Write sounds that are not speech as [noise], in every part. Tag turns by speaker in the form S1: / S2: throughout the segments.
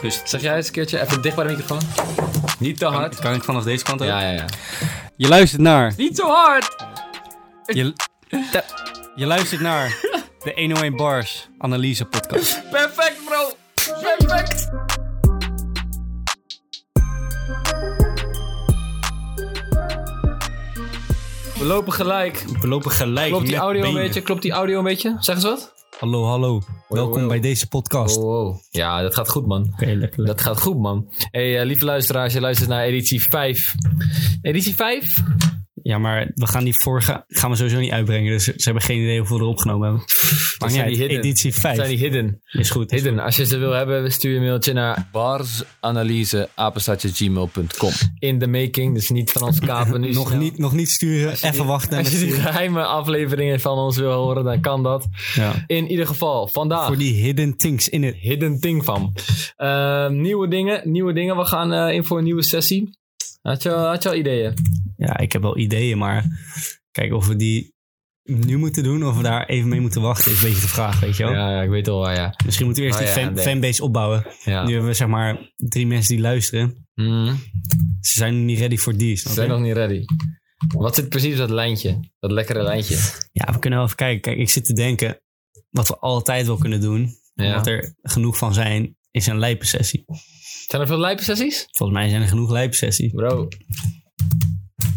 S1: Dus
S2: Zeg jij eens een keertje even dicht bij de microfoon? Niet te
S1: kan,
S2: hard.
S1: kan ik vanaf deze kant ook?
S2: Ja, ja, ja.
S1: Je luistert naar...
S2: Niet zo hard!
S1: Je, je luistert naar de 101 Bars Analyse Podcast.
S2: Perfect, bro! Perfect! We lopen gelijk.
S1: We lopen gelijk
S2: Klopt die
S1: met
S2: audio een
S1: benen.
S2: beetje? Klopt die audio een beetje? Zeg eens wat.
S1: Hallo, hallo. Welkom
S2: hoi.
S1: bij deze podcast.
S2: Oh, wow. Ja, dat gaat goed, man.
S1: Oké, lekker.
S2: Dat gaat goed, man. hey, eh, lieve luisteraars, je luistert naar editie 5. Editie 5?
S1: Ja, maar we gaan die vorige gaan we sowieso niet uitbrengen. Dus ze hebben geen idee hoeveel we erop genomen hebben. Maar
S2: zijn
S1: ja,
S2: die hidden.
S1: editie 5
S2: Zijn die hidden?
S1: is goed.
S2: Hidden, als je ze wil hebben, stuur je een mailtje naar barsanalyse.gmail.com. In the making, dus niet van ons kapen nu
S1: [laughs] Nog
S2: snel.
S1: niet, nog niet sturen, even wachten. en
S2: Als je
S1: even
S2: die
S1: sturen.
S2: geheime afleveringen van ons wil horen, dan kan dat.
S1: Ja.
S2: In ieder geval, vandaag
S1: Voor die hidden things in het.
S2: hidden thing van. Ehm, nieuwe dingen, nieuwe dingen. We gaan eh, in voor een nieuwe sessie. Had je, had je al ideeën?
S1: Ja, ik heb wel ideeën, maar kijk of we die nu moeten doen of we daar even mee moeten wachten is een beetje de vraag, weet je wel.
S2: Ja, ja, ik weet al waar, ja.
S1: Misschien moeten we eerst
S2: Oh
S1: die
S2: ja,
S1: fan-
S2: nee.
S1: fanbase opbouwen.
S2: ja.
S1: Nu hebben we zeg maar drie mensen die luisteren.
S2: Mm,
S1: Ze zijn nog niet ready voor die.
S2: ze
S1: snap
S2: zijn
S1: je?
S2: nog niet ready. Wat zit precies op dat lijntje? Dat lekkere lijntje.
S1: Ja, we kunnen wel even kijken. Kijk, ik zit te denken wat we altijd wel kunnen doen,
S2: Ja.
S1: wat er genoeg van zijn, is een lijpe sessie.
S2: Zijn er veel lijpe sessies?
S1: Volgens mij zijn er genoeg lijpe sessies.
S2: Bro.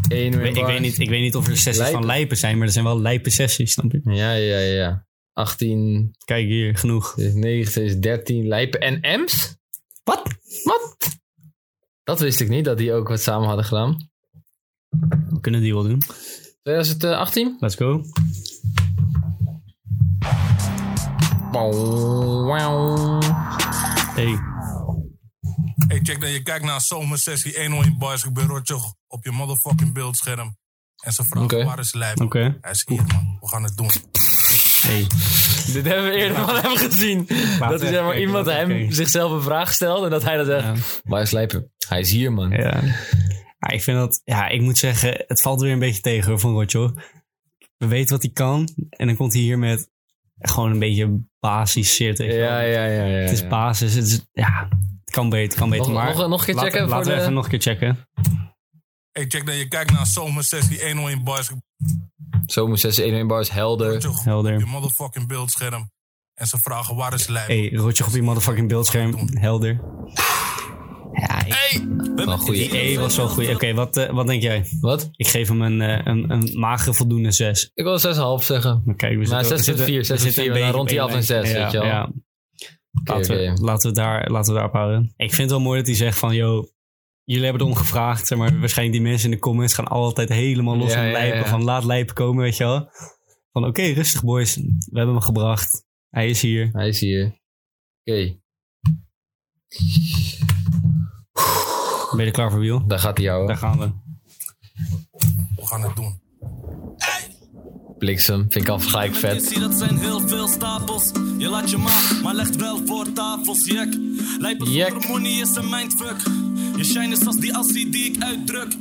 S2: Eén
S1: Ik weet, ik, weet niet, ik weet niet of er sessies
S2: Lijpe.
S1: van lijpen zijn, maar er zijn wel lijpe sessies, snap je?
S2: Ja, ja, ja, ja. 18,
S1: Kijk hier, genoeg.
S2: is 19, is 13 lijpen. En M's?
S1: Wat?
S2: Wat? Dat wist ik niet, dat die ook wat samen hadden gedaan.
S1: We kunnen die wel doen.
S2: 2018?
S1: Let's go.
S2: Wow, wow.
S1: Hey,
S3: Hey, check dat je kijkt naar zomersessie 101 Bars. Ik ben Rotjoch op je motherfucking beeldscherm. En ze vragen
S2: Oké.
S3: waar is lijf.
S1: oké.
S3: Hij is hier, man. We gaan het doen.
S1: Hey.
S2: Dit hebben we eerder van hem gezien. dat is zeg
S1: even
S2: maar
S1: kijken,
S2: iemand
S1: laten we
S2: hem
S1: kijken.
S2: zichzelf een vraag stelt en dat hij dat zegt.
S1: Ja.
S2: Waar is Lijpen? Hij is hier, man.
S1: Ja. Maar ik vind dat, ja, ik moet zeggen, het valt weer een beetje tegen hoor, van Rotjo. We weten wat hij kan en dan komt hij hier met gewoon een beetje basis shit. weet je wel.
S2: Ja, ja, ja. ja, ja.
S1: Het is basis, het is, ja, het kan beter, kan beter.
S2: Nog-
S1: maar
S2: nog- nog een keer
S1: laten-
S2: checken
S1: Laten
S2: voor
S1: we
S2: de-
S1: even nog een keer checken.
S3: Hey, check dat je kijkt naar zomersessie 101 Bars. Ik
S2: Zomer 611 bars,
S3: ben
S2: helder.
S3: Rotjoch op je
S1: Helder.
S3: motherfucking beeldscherm. En ze vragen waar is lijf.
S1: Hey, Rotjo op je motherfucking beeldscherm. Helder. Ja, ik-
S3: Ben
S2: Wel goeie.
S1: die E was wel goed. Oké, wat, eh, wat denk jij?
S2: Wat?
S1: Ik geef hem een, eh, een, een magere voldoende 6.
S2: Ik wil 6,5 zeggen.
S1: Kijk, we
S2: Maar
S1: zitten- we
S2: 6,4,
S1: zitten- we
S2: 6,4,
S1: zitten een
S2: en dan
S1: beetje
S2: rond hij
S1: op
S2: af
S1: één
S2: naar
S1: lijn.
S2: 6, weet je wel.
S1: Ja. Laten,
S2: Oké, oké.
S1: We, laten, we daar, laten we daarop houden. Ik vind het wel mooi dat hij zegt van, yo, jullie hebben het omgevraagd. Zeg maar waarschijnlijk die mensen in de comments gaan altijd helemaal los
S2: Ja,
S1: van
S2: ja,
S1: lijpen.
S2: ja.
S1: Van laat lijpen komen, weet je wel. Van oké, rustig boys. We hebben hem gebracht. Hij is hier.
S2: Hij is hier. Oké.
S1: Ben je er klaar voor, Wiel?
S2: Daar gaat hij jou.
S1: Daar gaan we.
S3: We gaan het doen.
S2: Bliksem. Vind ik al gelijk vet.
S4: Zie, dat zijn heel veel stapels. Je laat je maar, maar legt wel voor tafels. Jek, lijpen
S2: Jek.
S4: zonder money is een mindfuck. Je shine is als die assie die ik uitdruk.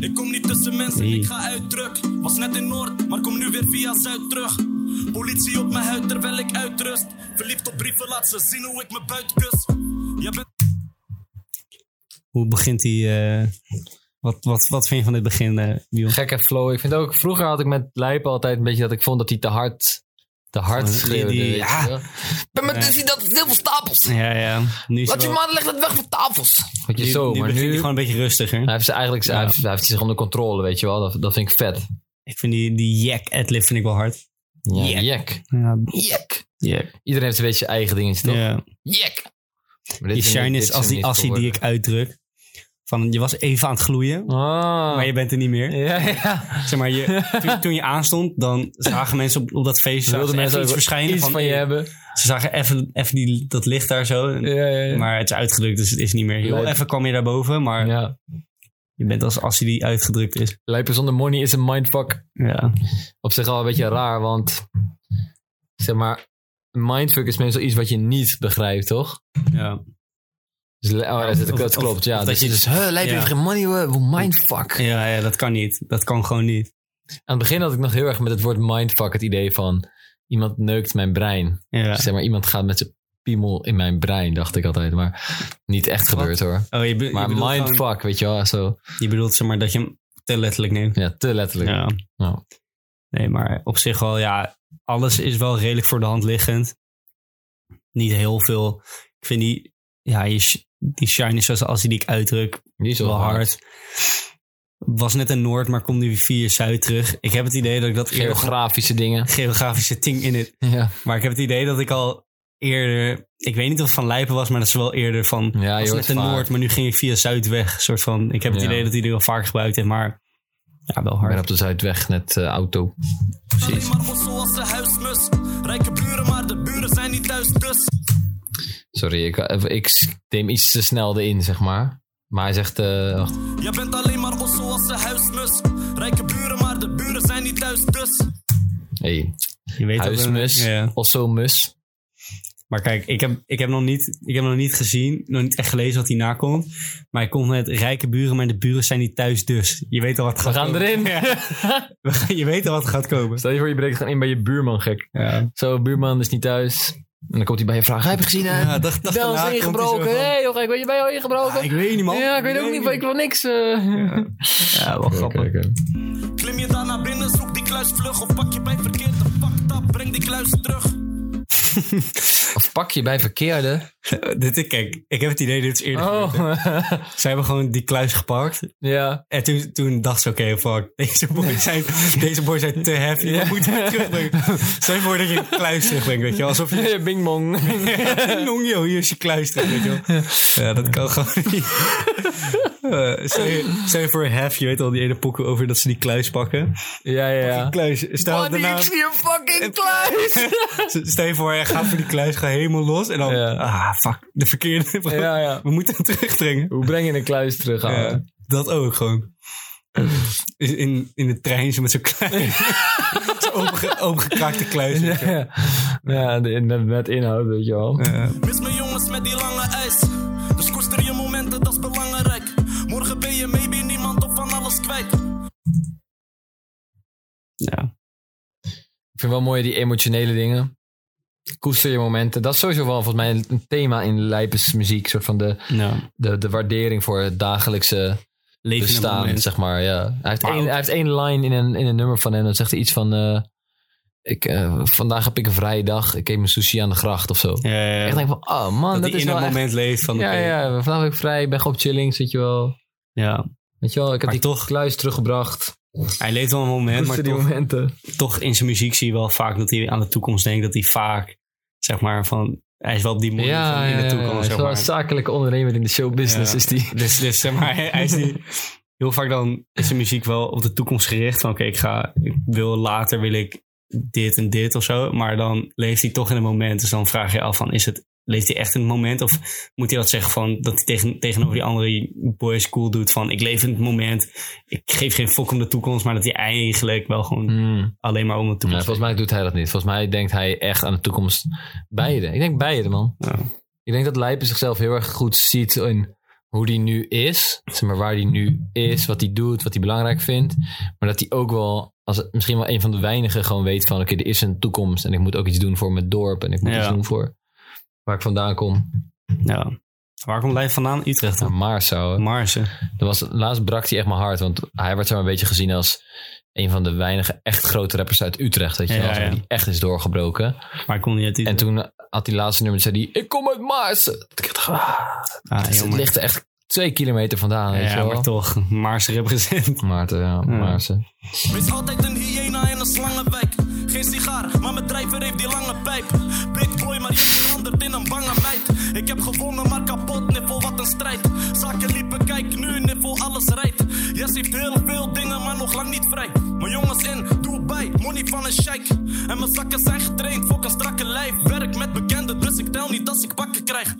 S4: Ik kom niet tussen mensen,
S1: Hey.
S4: ik ga uitdruk. Was net in Noord, maar kom nu weer via Zuid terug. Politie op mijn huid terwijl ik uitrust. Verliefd op brieven, laat ze zien hoe ik mijn buit kus. Jij bent
S1: Hoe begint hij? eh, wat, wat, wat vind je van dit begin, eh, Wiel?
S2: Gekke flow. Ik vind ook, vroeger had ik met Lijpen altijd een beetje dat ik vond dat hij te hard, te hard
S1: Die-
S2: schreeuwde.
S1: die-
S2: weet je
S1: ja.
S2: wel. Ben met zie dat heel veel stapels.
S1: Ja, ja. Nu is hij wel-
S2: man, leg dat weg voor tafels. Weet je,
S1: nu-
S2: zo,
S1: nu
S2: maar
S1: begint
S2: nu...
S1: hij gewoon een beetje rustiger.
S2: Hij heeft, ze eigenlijk, hij, heeft, hij heeft zich onder controle, weet je wel. Dat, dat vind ik vet.
S1: Ik vind die, die jack adlib vind ik wel hard.
S2: Ja,
S1: Jek.
S2: Jek.
S1: Ja,
S2: Jek.
S1: jack.
S2: Iedereen heeft een beetje zijn eigen dingetje, toch? Jek. Maar dit is
S1: Die
S2: een-
S1: shine
S2: dit
S1: is als
S2: een
S1: die assie die ik uitdruk. Van, je was even aan het gloeien,
S2: Ah.
S1: maar je bent er niet meer.
S2: Ja, ja.
S1: Zeg maar,
S2: [laughs]
S1: je, toen, toen je aanstond, dan zagen mensen op, op dat feest
S2: Ze
S1: zagen
S2: wilden
S1: ze echt
S2: mensen
S1: iets
S2: ook
S1: verschijnen.
S2: iets
S1: van,
S2: van je
S1: eh,
S2: hebben.
S1: Ze zagen even, even die, dat licht daar zo. en-
S2: Ja, ja, ja.
S1: Maar het is uitgedrukt, dus het is niet meer. Heel
S2: Lijp.
S1: even kwam je daarboven, maar
S2: ja.
S1: je bent als assie die uitgedrukt is.
S2: Lijpen zonder money is een mindfuck.
S1: Ja,
S2: op zich al een beetje raar, want zeg maar, mindfuck is meestal iets wat je niet begrijpt, toch?
S1: ja.
S2: Dus, le- oh, dat, dat- dat
S1: of-
S2: klopt, ja.
S1: of
S2: dus,
S1: dat je-
S2: dus huh, lijp
S1: ja.
S2: heeft geen money, huh, mindfuck.
S1: Ja, ja, dat kan niet. Dat kan gewoon niet.
S2: Aan het begin had ik nog heel erg met het woord mindfuck het idee van iemand neukt mijn brein.
S1: Ja.
S2: Dus zeg maar, iemand gaat met zijn piemel in mijn brein, dacht ik altijd. Maar niet echt gebeurd hoor.
S1: Oh, je, be- je
S2: Maar
S1: bedoelt
S2: mindfuck,
S1: gewoon-
S2: weet je wel. Zo,
S1: je bedoelt zeg maar dat je hem te letterlijk neemt.
S2: ja, te letterlijk.
S1: Ja.
S2: Ja.
S1: Nee, maar op zich wel, ja, alles is wel redelijk voor de hand liggend. Niet heel veel. Ik vind die, ja, je sh- die shine is zoals als die, die ik uitdruk,
S2: Die is
S1: wel hard. Was net een Noord, maar komt nu via Zuid terug. Ik heb het idee dat ik dat eerder...
S2: Geografische dingen.
S1: [laughs] Geografische ting in het.
S2: Ja,
S1: Maar ik heb het idee dat ik al eerder... Ik weet niet of het van Lijpen was, maar dat is wel eerder van...
S2: Ja, je
S1: was
S2: hoort
S1: net een
S2: vaak.
S1: Noord, maar nu ging ik via Zuid weg. Soort van, ik heb het
S2: Ja.
S1: idee dat hij er al vaak gebruikt heeft, maar... Ja, wel
S2: ik ben
S1: hard.
S2: op de Zuidweg net eh, auto.
S4: Alleen maar bos zoals de huismus. Rijke buren, maar de buren zijn niet thuis, dus.
S2: Sorry, ik, eh, ik neem iets te snel erin, zeg maar. Maar hij zegt, eh, wacht.
S4: Je bent alleen maar os zoals de huismus. Rijke buren, maar de buren zijn niet thuis, dus.
S2: hey,
S1: Je weet dat we-
S2: huismus,
S1: Ja.
S2: ossomus.
S1: Maar kijk, ik heb, ik, heb nog niet, ik heb nog niet gezien, nog niet echt gelezen wat hierna komt. Maar ik komt met rijke buren, maar de buren zijn niet thuis dus. Je weet al wat
S2: We
S1: gaat
S2: gaan
S1: komen.
S2: erin.
S1: We gaan- [laughs] Je weet al wat gaat
S2: [laughs]
S1: komen.
S2: Stel je voor, je breekt gewoon in bij je buurman, gek.
S1: Ja,
S2: Zo, buurman is niet thuis. En dan komt hij bij je vragen. Heb
S1: [laughs]
S2: je gezien, hè?
S1: ja dag, dag
S2: Bel is
S1: daarna komt hij zo
S2: ingebroken.
S1: van,
S2: Hé, hey, joh, gek, ben je bij jou ingebroken?
S1: "Ah, ik weet niet man.
S2: ja, ik weet ook niet, maar ik wil niks. eh.
S1: Ja, wel grappig.
S4: Klim je daar naar binnen, zoek die kluis vlug. Of pak je bij verkeerd, dan fucked up, breng die kluis terug.
S2: Of pak je bij verkeerde.
S1: Eh, Dit, kijk, ik heb het idee, dit is eerder.
S2: Oh,
S1: Ze hebben gewoon die kluis gepakt.
S2: [laughs] ja.
S1: En toen, toen dacht ze, oké, fuck, [laughs] deze
S2: [laughs]
S1: boys zijn, deze boys zijn te heavy. We moeten hem terugbrengen. Stel je voor dat je een kluis terugbrengt, weet je wel. Alsof je
S2: Bing bong.
S1: [laughs] Nong, joh, hier is je kluister, weet je wel. [laughs] Ja, dat kan gewoon [laughs] niet. Eh, stel je- Stel je voor Hef, je weet al die ene pokken over dat ze die kluis pakken.
S2: [laughs] ja, ja, ja.
S1: [laughs] Kluis, stel, daarna,
S2: zie een fucking
S1: [laughs]
S2: kluis.
S1: stel je voor, hij gaat voor die kluis, ga helemaal los. En dan,
S2: Ja.
S1: ah, fuck, de verkeerde.
S2: ja, ja.
S1: [laughs] We moeten hem terugbrengen.
S2: Hoe breng je een kluis terug, ouwe?
S1: Ja, dat ook gewoon. In- In, in de trein, zo met zo'n klein, [laughs] zo'n openge- opengekraakte kluis. weet je wel.
S2: Ja, [laughs] ja de- met, met inhoud, weet je wel.
S1: Eh,
S4: Mis me jongens met die lange ijs. Dus koester je momenten, dat is belangrijk. Morgen ben je maybe niemand of van alles kwijt.
S1: ja.
S2: Ik vind wel mooi die emotionele dingen. Koester je momenten. Dat is sowieso wel volgens mij een- een thema in Lijpes muziek. soort van de,
S1: Nou,
S2: de, de waardering voor het dagelijkse
S1: leven in het
S2: bestaan,
S1: moment.
S2: zeg maar. Ja. Hij, heeft
S1: Maar
S2: één,
S1: ook-
S2: hij heeft één line in een, in een nummer van hem. Dan zegt hij iets van... eh, ik, eh, vandaag heb ik een vrije dag. Ik eet mijn sushi aan de gracht of zo.
S1: Ja, ja, ja.
S2: Ik denk van, oh man, dat,
S1: dat, hij
S2: is
S1: in
S2: wel
S1: het
S2: echt-
S1: moment leeft van,
S2: Ja,
S1: oké,
S2: ja, vandaag ben ik vrij. Ik ben gewoon op chilling, zit je wel.
S1: ja.
S2: Weet je wel, ik heb
S1: Maar
S2: die
S1: toch-
S2: kluis teruggebracht.
S1: Hij leeft wel een moment, maar
S2: Koester die
S1: toch,
S2: momenten.
S1: toch in zijn muziek zie je wel vaak dat hij aan de toekomst denkt. Dat hij vaak, zeg maar, van... Hij is wel op die manier
S2: Ja,
S1: van in
S2: ja,
S1: de
S2: ja,
S1: toekomst,
S2: hij is
S1: zeg
S2: wel een
S1: maar.
S2: zakelijke ondernemer in de showbusiness
S1: Ja.
S2: is die.
S1: Dus, dus zeg maar, hij hij is
S2: [laughs]
S1: die, heel vaak dan is zijn muziek wel op de toekomst gericht. Van oké, ik ga, ik wil later wil ik dit en dit of zo. Maar dan leeft hij toch in het moment. Dus dan vraag je je af van, is het, leeft hij echt in het moment? Of moet hij dat zeggen van, dat hij tegen, tegenover die andere boys cool doet van, ik leef in het moment. Ik geef geen fok om de toekomst, maar dat hij eigenlijk wel gewoon
S2: Hmm.
S1: alleen maar om de
S2: Ja,
S1: toekomst.
S2: volgens mij doet hij dat niet. Volgens mij denkt hij echt aan de toekomst. Beide. Ik denk beide, man.
S1: Ja.
S2: Ik denk dat Lijpen zichzelf heel erg goed ziet in hoe die nu is. Zeg maar waar die nu is, wat hij doet, wat hij belangrijk vindt. Maar dat hij ook wel, als, misschien wel een van de weinigen, gewoon weet van... Oké, er is een toekomst en ik moet ook iets doen voor mijn dorp. En ik moet
S1: Ja.
S2: iets doen voor waar ik vandaan kom.
S1: Ja. Waar komt Lijf vandaan? Utrecht dan.
S2: Naar Maarschouwen.
S1: Marsen.
S2: Er was, laatst brak hij echt mijn hart. Want hij werd zo een beetje gezien als een van de weinige echt grote rappers uit Utrecht. Weet je
S1: Ja,
S2: wel,
S1: ja.
S2: die echt is doorgebroken.
S1: Maar ik kon niet uit
S2: En
S1: Utrecht.
S2: toen had hij laatste nummer, zei hij, ik kom uit Maars. Ik dacht, ah,
S1: ah,
S2: dus het
S1: jammer.
S2: ligt er echt twee kilometer vandaan, weet je
S1: Ja,
S2: wel.
S1: maar toch. Hmm. Maarsen represent. [laughs]
S2: Maarten, ja, Maarsen.
S4: Wees altijd een hyena in een slangenwijk. Geen sigaar, maar mijn drijver heeft die lange pijp. Big boy, maar je verandert in een bange meid. Ik heb gewonnen, maar kapot, niffel, wat een strijd. Zaken liepen, kijk nu, niffel, alles rijdt. Yes, heeft heel veel dingen, maar nog lang niet vrij. Mijn jongens in Dubai, money van een sheik. En mijn zakken zijn getraind, fok een strakke lijf. Werk met bekenden, dus ik tel niet als ik pakken krijg.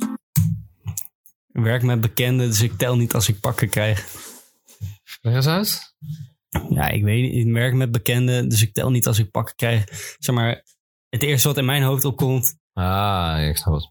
S1: werk met bekenden, dus ik tel niet als ik pakken krijg.
S2: Leg eens uit.
S1: Ja, ik weet niet. Ik werk met bekenden, dus ik tel niet als ik pakken krijg. Zeg maar, het eerste wat in mijn hoofd opkomt
S2: Ah, ik snap het.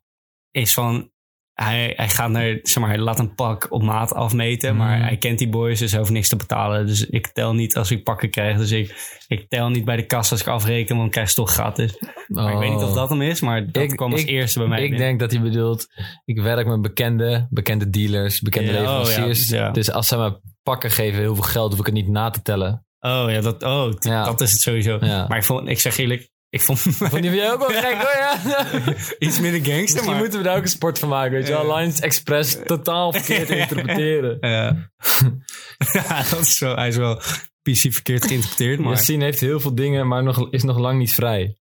S1: is van... hij, hij gaat naar, zeg maar, hij laat een pak op maat afmeten.
S2: Mm.
S1: Maar hij kent die boys, dus hij hoeft niks te betalen. Dus ik tel niet als ik pakken krijg. Dus ik, ik tel niet bij de kassa als ik afreken, want ik krijg ze toch gratis. Maar ik weet niet of dat hem is, maar dat kwam als eerste bij mij
S2: Oh. Ik
S1: binnen.
S2: denk dat hij bedoelt, ik werk met bekende, bekende dealers, bekende
S1: Ja, oh ja,
S2: leveranciers.
S1: ja.
S2: Dus als zij me pakken geven, heel veel geld, hoef ik het niet na te tellen.
S1: Oh ja, dat, oh, t-
S2: Ja.
S1: dat is het sowieso.
S2: Ja.
S1: Maar ik, vond, ik zeg eerlijk, ik
S2: [laughs]
S1: vond
S2: Vond je van jou ook wel gek hoor,
S1: [laughs]
S2: ja? [laughs]
S1: iets minder [laughs] gangster,
S2: Misschien
S1: maar...
S2: moeten we daar ook een sport van maken, weet je wel. Lines Express totaal
S1: [laughs]
S2: verkeerd interpreteren.
S1: Ja. ja, Eh. [laughs] dat is wel, hij is wel PC verkeerd geïnterpreteerd, [laughs] maar...
S2: Yassine heeft heel veel dingen, maar nog, is nog lang niet vrij.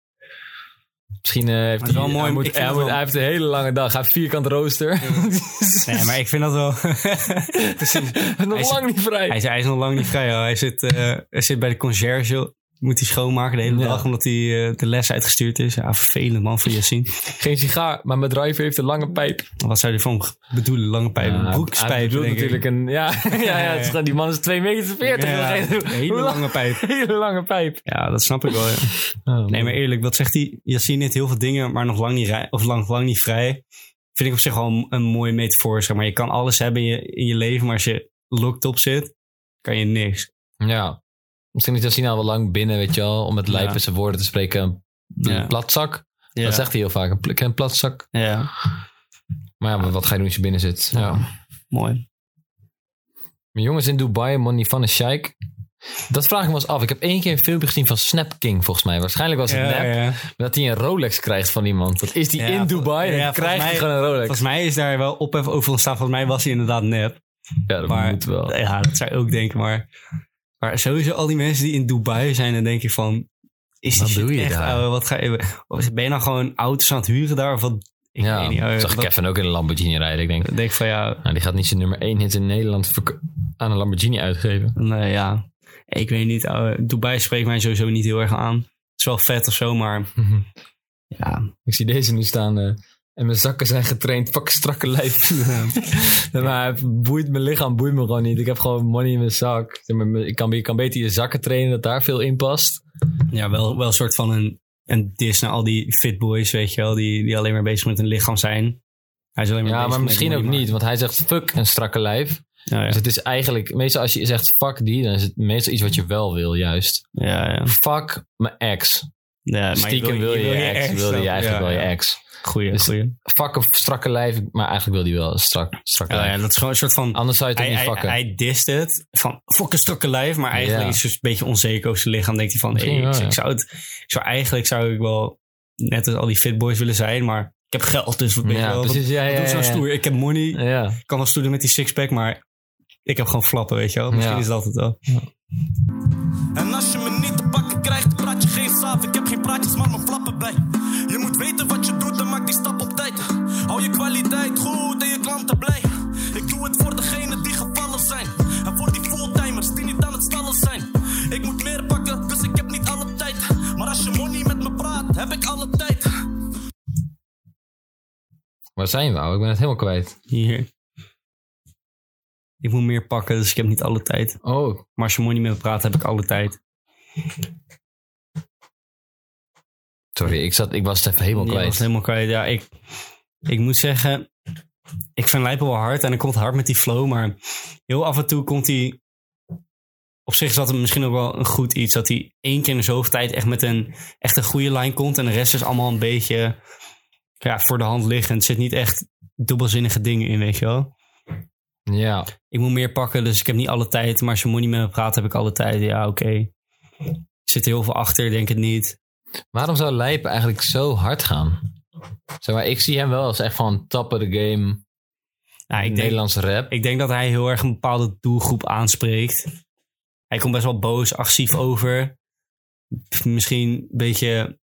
S2: Misschien eh, heeft
S1: Maar
S2: hij,
S1: wel mooi,
S2: hij,
S1: ik
S2: moet,
S1: vind
S2: hij,
S1: het
S2: moet-
S1: wel-
S2: hij heeft een hele lange dag. Hij heeft vierkant rooster.
S1: Nee, maar ik vind dat wel... [laughs] Precies.
S2: [laughs] nog
S1: is-
S2: lang niet vrij.
S1: Hij is, hij is nog lang niet vrij. joh. Hij zit, eh, hij zit bij de conciërge. Moet hij schoonmaken de hele
S2: Ja.
S1: dag, omdat hij eh, de les uitgestuurd is. Ja, vervelend man voor Yassine.
S2: Geen sigaar, maar mijn driver heeft een lange pijp.
S1: Wat zou hij van bedoelen? Lange pijp,
S2: Ja, hij
S1: broekspijp,
S2: bedoelt
S1: denk
S2: natuurlijk
S1: ik.
S2: een... Ja, [laughs] ja, ja,
S1: ja,
S2: het is
S1: ja.
S2: gewoon- die man is 2,40 meter.
S1: Ja, een [laughs] hele lange pijp.
S2: Hele lange pijp.
S1: Ja, dat snap ik wel. ja.
S2: Oh,
S1: Nee, maar eerlijk, wat zegt hij? Yassine heeft heel veel dingen, maar nog lang niet, rij- of lang, lang niet vrij. Vind ik op zich wel een, een mooie metafoor. Zeg maar. Je kan alles hebben in je, in je leven, maar als je locked op zit, kan je niks.
S2: Ja. Misschien is Yassine al wel lang binnen, weet je wel. Om met lijp
S1: Ja.
S2: en zijn woorden te spreken. Een
S1: Ja.
S2: platzak.
S1: Ja.
S2: Dat zegt hij heel vaak. Een, pl- een platzak.
S1: Ja,
S2: Maar ja, maar wat ga je doen als je binnen zit?
S1: Ja.
S2: Ja.
S1: mooi.
S2: Mijn jongens in Dubai, money van een sheik. Dat vraag ik me eens af. Ik heb één keer een filmpje gezien van Snap King, volgens mij. Waarschijnlijk was het nep.
S1: ja.
S2: maar Dat hij een Rolex krijgt van iemand. Dat is die
S1: Ja,
S2: in Dubai en
S1: ja,
S2: dan
S1: volgens
S2: krijgt hij
S1: mij-
S2: gewoon een Rolex.
S1: Volgens mij is daar wel ophef over ontstaan. Volgens mij was hij inderdaad nep.
S2: ja, dat
S1: maar-
S2: moet wel.
S1: Ja, dat zou ik ook denken. Maar, maar sowieso al die mensen die in Dubai zijn, dan denk je van... Is die
S2: Wat
S1: shit
S2: doe je
S1: echt,
S2: daar?
S1: ouwe? wat ga je, of ben je nou gewoon auto's aan het huren daar? Of wat? Ik
S2: ja,
S1: weet niet. ouwe.
S2: zag
S1: Dat-
S2: Kevin ook in een Lamborghini rijden. Ik denk,
S1: Dan denk ik van ja,
S2: nou, die gaat niet zijn nummer 1 hit in Nederland verk- aan een Lamborghini uitgeven.
S1: nou ja, ik weet niet. ouwe. Dubai spreekt mij sowieso niet heel erg aan. Het is wel vet of zo,
S2: [laughs]
S1: maar [laughs] ja.
S2: Ik zie deze nu staan. eh, en mijn zakken zijn getraind, pak een strakke
S1: [laughs]
S2: lijf. Nee, maar boeit mijn lichaam, boeit me gewoon niet. Ik heb gewoon money in mijn zak. Zeg maar, Ik kan, je kan beter je zakken trainen, dat daar veel in past.
S1: Ja, wel, wel een soort van een, een dis naar al die fitboys, weet je wel. Die, die alleen maar bezig met hun lichaam zijn. Hij is alleen maar
S2: Ja,
S1: bezig
S2: maar
S1: met
S2: misschien ook
S1: money Oh
S2: niet, want hij zegt fuck een strakke lijf.
S1: maken.
S2: Dus het is eigenlijk, meestal als je zegt fuck die, dan is het meestal iets wat je wel wil, juist.
S1: ja, ja, ja.
S2: Fuck mijn ex.
S1: ja maar
S2: Stiekem wil je je ex, wil je eigenlijk wel je ex.
S1: Goeie,
S2: Dus-
S1: goeie.
S2: Fuck een strakke lijf, maar eigenlijk wil die wel een strak, strakke
S1: Ja,
S2: lijf.
S1: Oh ja, dat is gewoon een soort van...
S2: Anders zou je het
S1: Hij,
S2: ook niet
S1: hij,
S2: fucken.
S1: hij dist het van fuck een strakke lijf, maar eigenlijk
S2: Ja.
S1: is hij een beetje onzeker over zijn lichaam. Denkt hij van,
S2: Misschien
S1: hey, ik,
S2: wel, ja.
S1: ik zou het, ik zou eigenlijk zou ik wel net als al die fitboys willen zijn, maar ik heb geld, dus wat ben je
S2: ja,
S1: wel,
S2: precies. Ja,
S1: wat,
S2: ja,
S1: doe
S2: ja,
S1: ik zo
S2: ja.
S1: stoer? Ik heb money, ik
S2: Ja.
S1: kan wel stoer doen met die sixpack, maar ik heb gewoon flappen, weet je wel. Misschien
S2: Ja.
S1: is dat het wel.
S4: En als je me niet te pakken krijgt, praat je geen saaf. Ik heb geen praatjes, maar mijn flappen bij. Je moet weten wat je doet en maak die stap op tijd. Hou je kwaliteit goed en je klanten blij. Ik doe het voor degenen die gevallen zijn. En voor die fulltimers die niet aan het stallen zijn. Ik moet meer pakken, dus ik heb niet alle tijd. Maar als je money met me praat, heb ik alle tijd.
S2: Waar zijn we, ouwe? Ik ben het helemaal kwijt.
S1: Hier. Ik moet meer pakken, dus ik heb niet alle tijd.
S2: Oh,
S1: Maar als je money met me praat, heb ik alle tijd.
S2: sorry. Ik, zat, ik was het even helemaal
S1: Die was
S2: kwijt.
S1: helemaal kwijt. Ja, ik, ik moet zeggen, ik vind Lijpen wel hard en hij komt hard met die flow, maar heel af en toe komt hij. Op zich is dat misschien ook wel een goed iets, dat hij één keer in de zoveel tijd echt met een echt een goede lijn komt en de rest is allemaal een beetje ja, voor de hand liggend. Er zit niet echt dubbelzinnige dingen in, weet je wel.
S2: Ja.
S1: Ik moet meer pakken, dus ik heb niet alle tijd, maar als je moet niet met me praat, heb ik alle tijd. Ja, oké. Er zit heel veel achter, denk het niet.
S2: Waarom zou Lijp eigenlijk zo hard gaan? Zeg maar, ik zie hem wel als echt van tappen de game,
S1: Nou, ik denk,
S2: Nederlandse rap.
S1: Ik denk dat hij heel erg een bepaalde doelgroep aanspreekt. Hij komt best wel boos, agressief over. Pff, Misschien een beetje,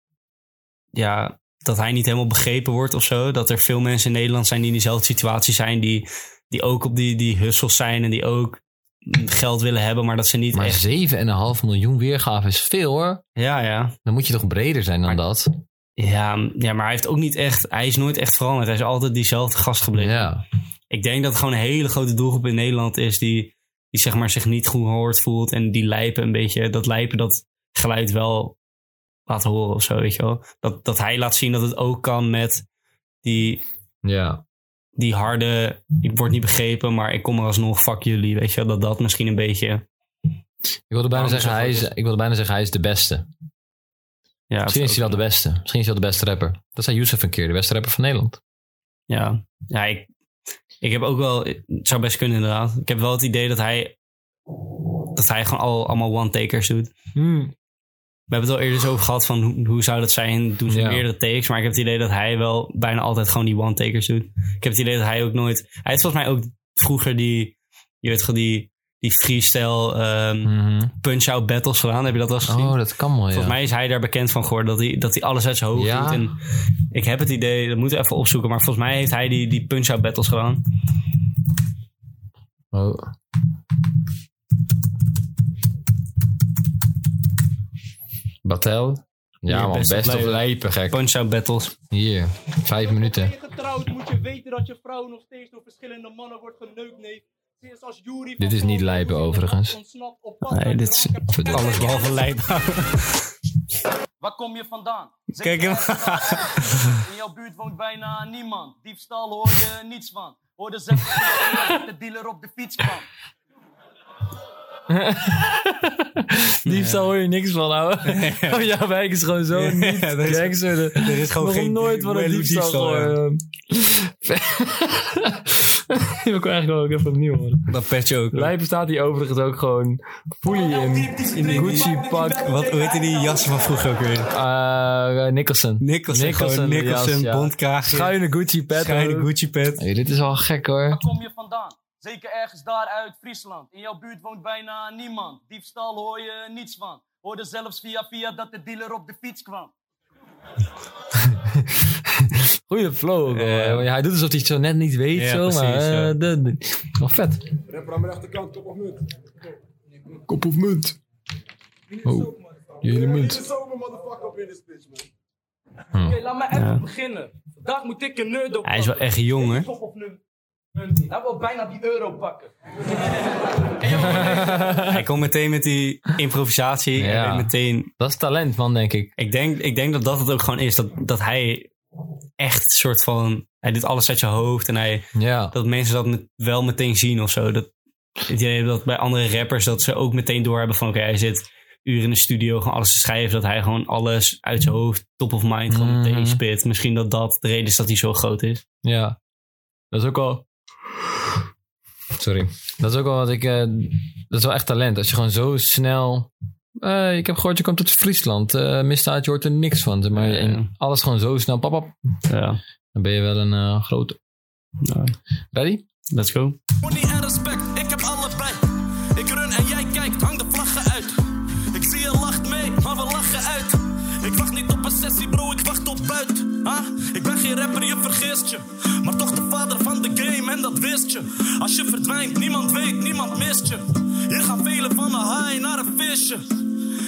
S1: ja, dat hij niet helemaal begrepen wordt of zo. Dat er veel mensen in Nederland zijn die in diezelfde situatie zijn. Die, die ook op die, die hustles zijn en die ook geld willen hebben, maar dat ze niet
S2: Maar
S1: echt...
S2: 7,5 miljoen weergaven is veel hoor.
S1: Ja, ja.
S2: Dan moet je toch breder zijn dan
S1: Maar-
S2: dat?
S1: Ja, m- ja, maar hij heeft ook niet echt... Hij is nooit echt veranderd. Hij is altijd diezelfde gast gebleven.
S2: Ja.
S1: Ik denk dat het gewoon een hele grote doelgroep in Nederland is die, die zeg maar zich niet goed gehoord voelt en die lijpen een beetje, dat lijpen dat geluid wel laat horen of zo, weet je wel. Dat, dat hij laat zien dat het ook kan met die,
S2: ja.
S1: die harde, ik word niet begrepen, maar ik kom er alsnog, fuck jullie, weet je wel, dat dat misschien een beetje...
S2: Ik wilde, bijna
S1: Waarom
S2: zeggen,
S1: zo
S2: hij
S1: goed
S2: is,
S1: is-
S2: ik wilde bijna zeggen, hij is de beste.
S1: Ja,
S2: Misschien is hij wel de beste. Misschien is hij wel de beste rapper. Dat zei Youssef een keer, de beste rapper van Nederland.
S1: Ja, ja ik, ik heb ook wel, het zou best kunnen inderdaad. Ik heb wel het idee dat hij, dat hij gewoon al, allemaal one-takers doet. Hmm. We hebben het al eerder zo over gehad van hoe, hoe zou dat zijn? Doen ze
S2: Ja.
S1: meerdere takes? Maar ik heb het idee dat hij wel bijna altijd gewoon die one-takers doet. Ik heb het idee dat hij ook nooit... Hij is volgens mij ook vroeger die, je weet gewoon, die, die freestyle ehm,
S2: Mhm.
S1: punch-out battles gedaan. Heb je dat wel eens gezien?
S2: Oh, dat kan wel, ja.
S1: Volgens mij is hij daar bekend van geworden dat hij, dat hij alles uit zijn hoofd
S2: Ja.
S1: doet. En ik heb het idee, dat moeten we even opzoeken, maar volgens mij heeft hij die, die punch-out battles gedaan.
S2: Oh. Batel? Ja,
S1: Hier,
S2: man,
S1: best
S2: best,
S1: of
S2: of
S1: Lijpen.
S2: lijpen, gek.
S1: Punch-out battles.
S2: Hier, vijf minuten.
S5: Ben je getrouwd, moet je weten dat je vrouw nog steeds door verschillende mannen wordt geneukt, neef. Ze is als Yuri van
S2: Dit is niet
S5: Kroon,
S2: lijpen,
S5: die in de
S2: overigens.
S5: nacht ontsnapt op pad
S1: Nee,
S5: naar
S1: dit is
S5: drank.
S2: Verdomme.
S1: [laughs] alles
S2: [laughs]
S1: behalve lijp.
S5: Waar kom je vandaan? Ze
S1: Kijk hem.
S5: In jouw buurt woont bijna niemand. Diefstal hoor je niets van. Hoorde ze dat [laughs] de dealer op de fiets kwam.
S2: Diefstal hoor je niks van, ouwe.
S1: [laughs]
S2: Oh, jouw wijk is gewoon zo niet
S1: er is-
S2: gangster. Er
S1: is gewoon
S2: Nog
S1: geen
S2: nooit van een
S1: Wello
S2: diefstal eh.
S1: diefstal, ja.
S2: gehoord. Die wil [laughs] ik eigenlijk wel ook even opnieuw horen.
S1: Dat petje ook.
S2: Lijpen staat hier overigens ook gewoon fully in. In die Gucci-pak.
S1: Wat weet je die jassen van vroeger ook weer?
S2: Eh, Nicholson.
S1: Nicholson, gewoon
S2: de
S1: Nicholson,
S2: jas, ja.
S1: bondkraagje,
S2: Schuine Gucci pet.
S1: schuine
S2: ook.
S1: Gucci pet.
S2: Hey, dit is wel gek hoor.
S5: Waar kom je vandaan? Zeker ergens daar uit Friesland. In jouw buurt woont bijna niemand. Diefstal hoor je niets van. Hoorde zelfs via via dat de dealer op de fiets kwam.
S2: Goeie flow. ook wel,
S1: Ja.
S2: hè. Eh, hij doet alsof hij het zo net niet weet.
S1: Ja,
S2: zo, maar,
S1: precies, ja.
S2: eh, de- de- wel vet. Kop of munt. Oh, je hele munt.
S6: Oké, laat me even beginnen. Vandaag moet ik een nerd op.
S1: Hij is wel echt jong, hè?
S6: Top of nu. Hij wil bijna die euro pakken.
S1: Hij komt meteen met die improvisatie. en
S2: Ja.
S1: weet meteen,
S2: Dat is talent, man, denk ik.
S1: ik, denk, ik denk dat dat het ook gewoon is. Dat, dat hij echt soort van... Hij doet alles uit zijn hoofd en hij...
S2: Ja.
S1: dat mensen dat met- wel meteen zien of zo. Dat, het idee dat bij andere rappers dat ze ook meteen doorhebben van... oké, hij zit uren in de studio gewoon alles te schrijven... dat hij gewoon alles uit zijn hoofd, top of mind, gewoon
S2: Mhm.
S1: meteen spit. Misschien dat dat de reden is dat hij zo groot is.
S2: Ja, dat is ook wel. Sorry. Dat is ook wel wat ik. eh, dat is wel echt talent. Als je gewoon zo snel. eh, ik heb gehoord, je komt uit Friesland. eh misdaad, je hoort er niks van. zeg Maar
S1: Ja, ja.
S2: en alles gewoon zo snel. Pap, pap.
S1: Ja,
S2: Dan ben je wel een eh, grote.
S1: Nou.
S2: Ready?
S1: let's go.
S4: Money en respect, ik heb allebei. Ik run en jij kijkt, hang de vlaggen uit. Ik zie je lacht mee, maar we lachen uit. Ik wacht niet op een sessie, bro, ik wacht op buit. Ha? Ik ben geen rapper, je vergist je. Maar toch de vader van de game en dat wist je. Als je verdwijnt, niemand weet, niemand mist je. Hier gaan velen van een haai naar een visje.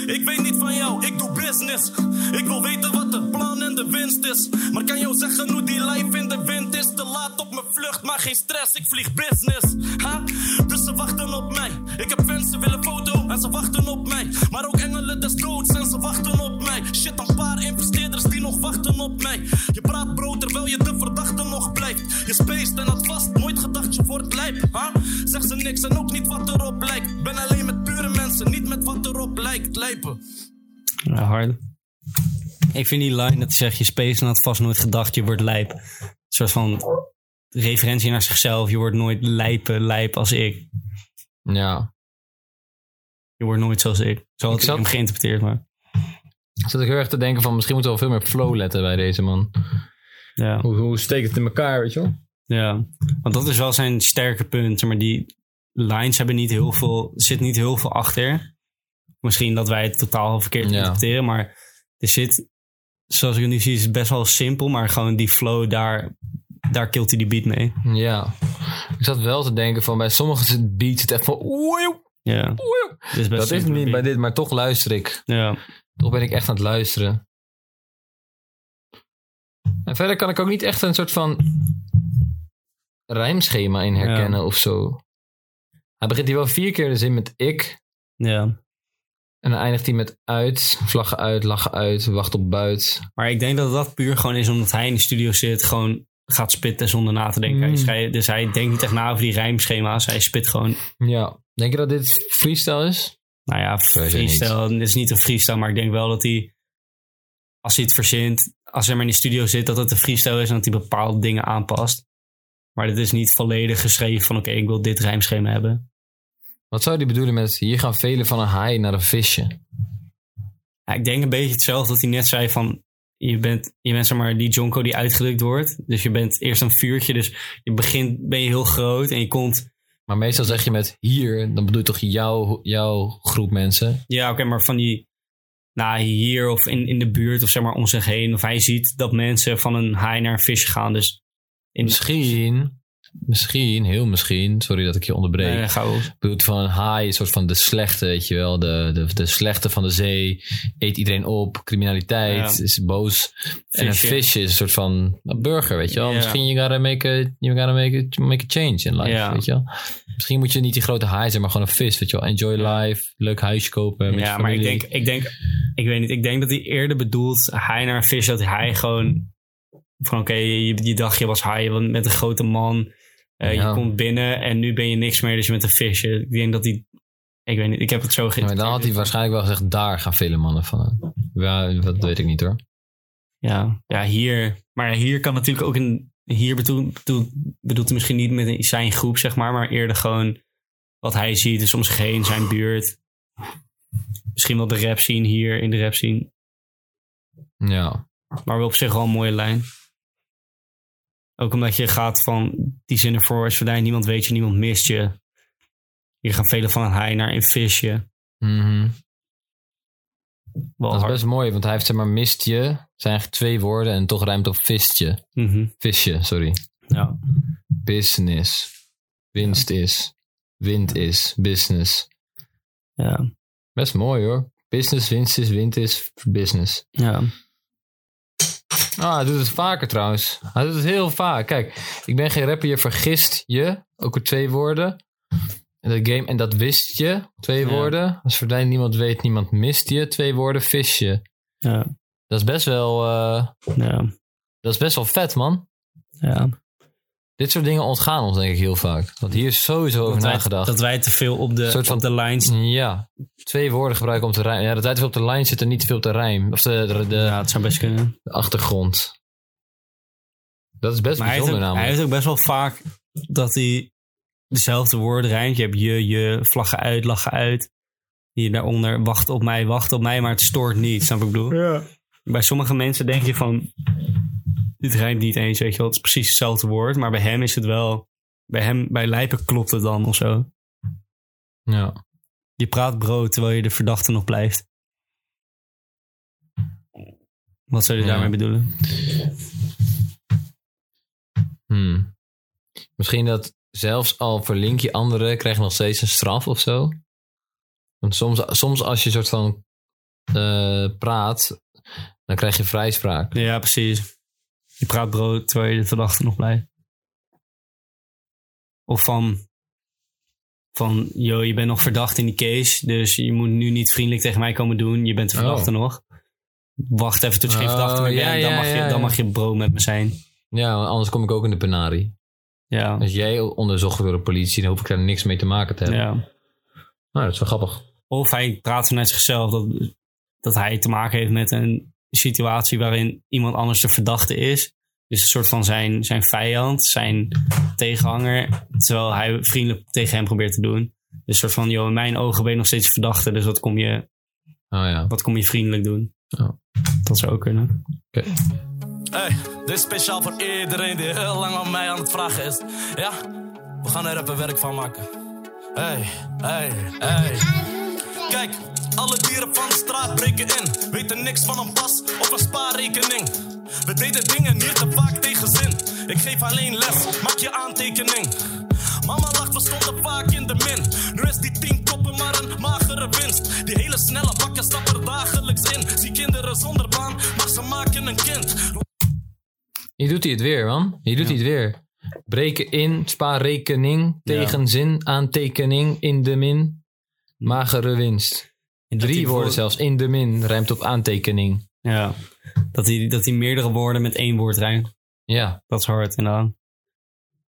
S4: Ik weet niet van jou, ik doe business. Ik wil weten wat het plan en de winst is. Maar kan jou zeggen hoe die life in de wind is? Te laat op mijn vlucht, maar geen stress, ik vlieg business. Ha? Dus ze wachten op mij. Ik heb fans, ze willen foto en ze wachten op mij. Maar ook engelen des doods en ze wachten op mij. Shit, een paar investeerders die nog wachten op mij. Je praat brood terwijl je de verdachte nog blijft. Je spaced en had vast nooit gedacht je wordt lijp. Ha? Zeg ze niks en ook niet wat erop lijkt. Ben alleen met pure mensen, niet met wat erop lijkt. Lijpen.
S1: Ja, hard. Ik vind die line dat hij zegt... je space en had vast nooit gedacht, je wordt lijp. Een soort van referentie naar zichzelf. Je wordt nooit lijpen, lijp als ik.
S2: Ja.
S1: Je wordt nooit zoals ik. Zo had
S2: Ik
S1: ik,
S2: zat-
S1: hem geïnterpreteerd, maar...
S2: Ik zat ook heel erg te denken van misschien moeten we wel veel meer flow letten bij deze man.
S1: Ja.
S2: Hoe, hoe steekt het in elkaar, weet je wel?
S1: Ja, want dat is wel zijn sterke punt. Maar die lines hebben niet heel veel, zit niet heel veel achter. Misschien dat wij het totaal verkeerd
S2: Ja.
S1: interpreteren, maar er zit, zoals ik het nu zie, is het best wel simpel, maar gewoon die flow daar, daar kilt hij die beat mee.
S2: Ja. Ik zat wel te denken van bij sommige is het beats het echt van. oei, oei,
S1: Ja,
S2: oei.
S1: het is best
S2: Dat is
S1: simpel,
S2: niet bij
S1: beat.
S2: dit, maar toch luister ik.
S1: Ja,
S2: Toch ben ik echt aan het luisteren. En verder kan ik ook niet echt een soort van rijmschema in herkennen of zo. Hij begint hier wel vier keer de zin met ik.
S1: ja.
S2: En dan eindigt hij met uit, vlaggen uit, lachen uit, wacht op buit.
S1: Maar ik denk dat dat puur gewoon is omdat hij in de studio zit, gewoon gaat spitten zonder na te denken.
S2: Mm.
S1: Hij schrij- dus hij denkt niet echt na over die rijmschema's. Hij spit gewoon.
S2: Ja. Denk je dat dit freestyle is?
S1: Nou ja,
S2: weet het
S1: freestyle. Het is niet een freestyle, maar ik denk wel dat hij... Als hij het verzint, als hij maar in de studio zit, dat het een freestyle is en dat hij bepaalde dingen aanpast. Maar dit is niet volledig geschreven van oké, ik wil dit rijmschema hebben.
S2: Wat zou die bedoelen met hier gaan velen van een haai naar een visje?
S1: Ja, ik denk een beetje hetzelfde dat hij net zei van... Je bent, je bent zeg maar die jonko die uitgedrukt wordt. Dus je bent eerst een vuurtje. Dus je begint, ben je heel groot en je komt
S2: Maar meestal zeg je met hier, dan bedoel je toch jouw, jouw groep mensen?
S1: Ja, oké, maar van die. Nou, hier of in, in de buurt of zeg maar om zich heen. Of hij ziet dat mensen van een haai naar een visje gaan. Dus in
S2: Misschien, misschien, heel misschien, sorry dat ik je onderbreek.
S1: Nee, gauw.
S2: bedoelt van een haai, een soort van de slechte, weet je wel. De, de, de slechte van de zee, eet iedereen op, criminaliteit,
S1: Ja.
S2: is boos. En een
S1: Visje.
S2: visje is een soort van een burger, weet je wel.
S1: Ja.
S2: Misschien you gotta, make a, you gotta make, a, make a change in life,
S1: Ja.
S2: weet je wel. Misschien moet je niet die grote haai zijn, maar gewoon een vis, weet je wel. Enjoy life, leuk huisje kopen met
S1: Ja,
S2: je
S1: maar ik
S2: familie.
S1: denk, ik denk. Ik weet niet. Ik denk dat hij eerder bedoelt haai naar een visje. Dat hij gewoon. Van oké, je, je dacht je was haai. Je bent met een grote man. eh,
S2: Ja.
S1: Je komt binnen en nu ben je niks meer. Dus je bent een visje. Ik denk dat hij. Ik weet niet. Ik heb het zo
S2: Ja, maar
S1: geïnterpreteerd.
S2: dan had hij waarschijnlijk wel gezegd, daar gaan vele mannen van. Ja, dat weet ik niet hoor.
S1: Ja, ja hier. Maar hier kan natuurlijk ook een. Hier bedoelt, bedoelt, bedoelt hij misschien niet met een- zijn groep, zeg maar, maar eerder gewoon wat hij ziet, dus om zich heen, zijn buurt. Misschien wel de rap scene hier in de rap scene.
S2: Ja,
S1: Maar wel op zich wel een mooie lijn. Ook omdat je gaat van die zin ervoor is verdwijnt, niemand weet je, niemand mist je. Hier gaan velen van een haai naar een visje.
S2: Mhm.
S1: Wel
S2: dat is
S1: hard.
S2: best mooi, want hij heeft zeg maar mistje, zijn eigenlijk twee woorden en toch ruimt op vistje.
S1: Mhm.
S2: Visje, sorry.
S1: ja.
S2: Business. Winst is. Wind is. Business.
S1: Ja.
S2: Best mooi hoor. Business, winst is, wind is, business.
S1: Ja.
S2: Ah, hij doet het vaker trouwens. Hij doet het heel vaak. Kijk, ik ben geen rapper, je vergist je. Ook weer twee woorden. En dat game, en dat wist je. Twee
S1: Ja.
S2: woorden. Als verdwijnt niemand weet, niemand mist je. Twee woorden, visje.
S1: Ja.
S2: Dat is best wel, eh,
S1: Ja.
S2: dat is best wel vet man.
S1: ja.
S2: Dit soort dingen ontgaan ons denk ik heel vaak. Want hier is sowieso over
S1: dat wij-
S2: nagedacht.
S1: dat wij te veel op de,
S2: Soort van-
S1: op de lijn staan.
S2: Ja, twee woorden gebruiken om te rijmen. Ja, dat hij te veel op de lijn zit en niet te veel op de rijm. Of de, de, de-
S1: Ja, het zou best kunnen.
S2: de achtergrond. Dat is best
S1: Maar hij heeft,
S2: bijzonder
S1: ook, hij
S2: namelijk.
S1: heeft ook best wel vaak dat hij dezelfde woorden rijmt. Je hebt je, je, vlaggen uit, lachen uit. Hier daaronder, wacht op mij, wacht op mij, maar het stoort niet. Snap wat ik bedoel? Bij sommige mensen denk je van, dit rijmt niet eens, weet je wel. Het is precies hetzelfde woord, maar bij hem is het wel... Bij hem, bij Lijpen klopt het dan of zo.
S2: Ja.
S1: Je praat brood terwijl je de verdachte nog blijft. Wat zou je
S2: Ja.
S1: daarmee bedoelen?
S2: Hmm. Misschien dat zelfs al verlink je anderen, krijg je nog steeds een straf of zo. Want soms, soms als je soort van eh, praat, dan krijg je vrijspraak.
S1: Ja, precies. Je praat brood terwijl je de verdachte nog blijft. Of van, van, yo, je bent nog verdacht in die case, dus je moet nu niet vriendelijk tegen mij komen doen. Je bent de verdachte nog. Wacht even tot je geen
S2: Oh,
S1: verdachte meer
S2: ja,
S1: bent, dan,
S2: ja,
S1: mag
S2: ja,
S1: je, dan
S2: ja.
S1: mag je brood met me zijn.
S2: Ja, want anders kom ik ook in de penarie.
S1: Ja,
S2: Als jij onderzocht wordt door de politie, dan hoef ik daar niks mee te maken te hebben.
S1: ja.
S2: Nou, dat is wel grappig.
S1: Of hij Oh, praat vanuit zichzelf dat, dat hij te maken heeft met een situatie waarin iemand anders de verdachte is. Dus een soort van zijn, zijn vijand, zijn tegenhanger. Terwijl hij vriendelijk tegen hem probeert te doen. Dus een soort van, joh, in mijn ogen ben je nog steeds verdachte. Dus wat kom je,
S2: Oh ja.
S1: wat kom je vriendelijk doen?
S2: Ja.
S1: Dat zou ook kunnen.
S4: Hey, dit is speciaal voor iedereen die heel lang aan mij aan het vragen is. Ja, we gaan er even werk van maken. Hey, hey, hey. Kijk, alle dieren van de straat breken in. Weten niks van een pas of een spaarrekening. We deden dingen niet te vaak tegen zin. Ik geef alleen les, maak je aantekening. Mama lacht, we stonden vaak in de min. Nu is die tien koppen maar een magere winst. Die hele snelle bakken stappen er dagelijks in. Zie kinderen zonder baan, maar ze maken een kind.
S2: Hier doet hij het weer, man. Hier doet hij het weer. Breken in, spaarrekening, tegenzin, aantekening, in de min, magere winst. Drie woorden zelfs, in de min, ruimt op aantekening.
S1: Ja, dat hij, dat hij meerdere woorden met één woord rijmt.
S2: Ja.
S1: Dat is hard. En dan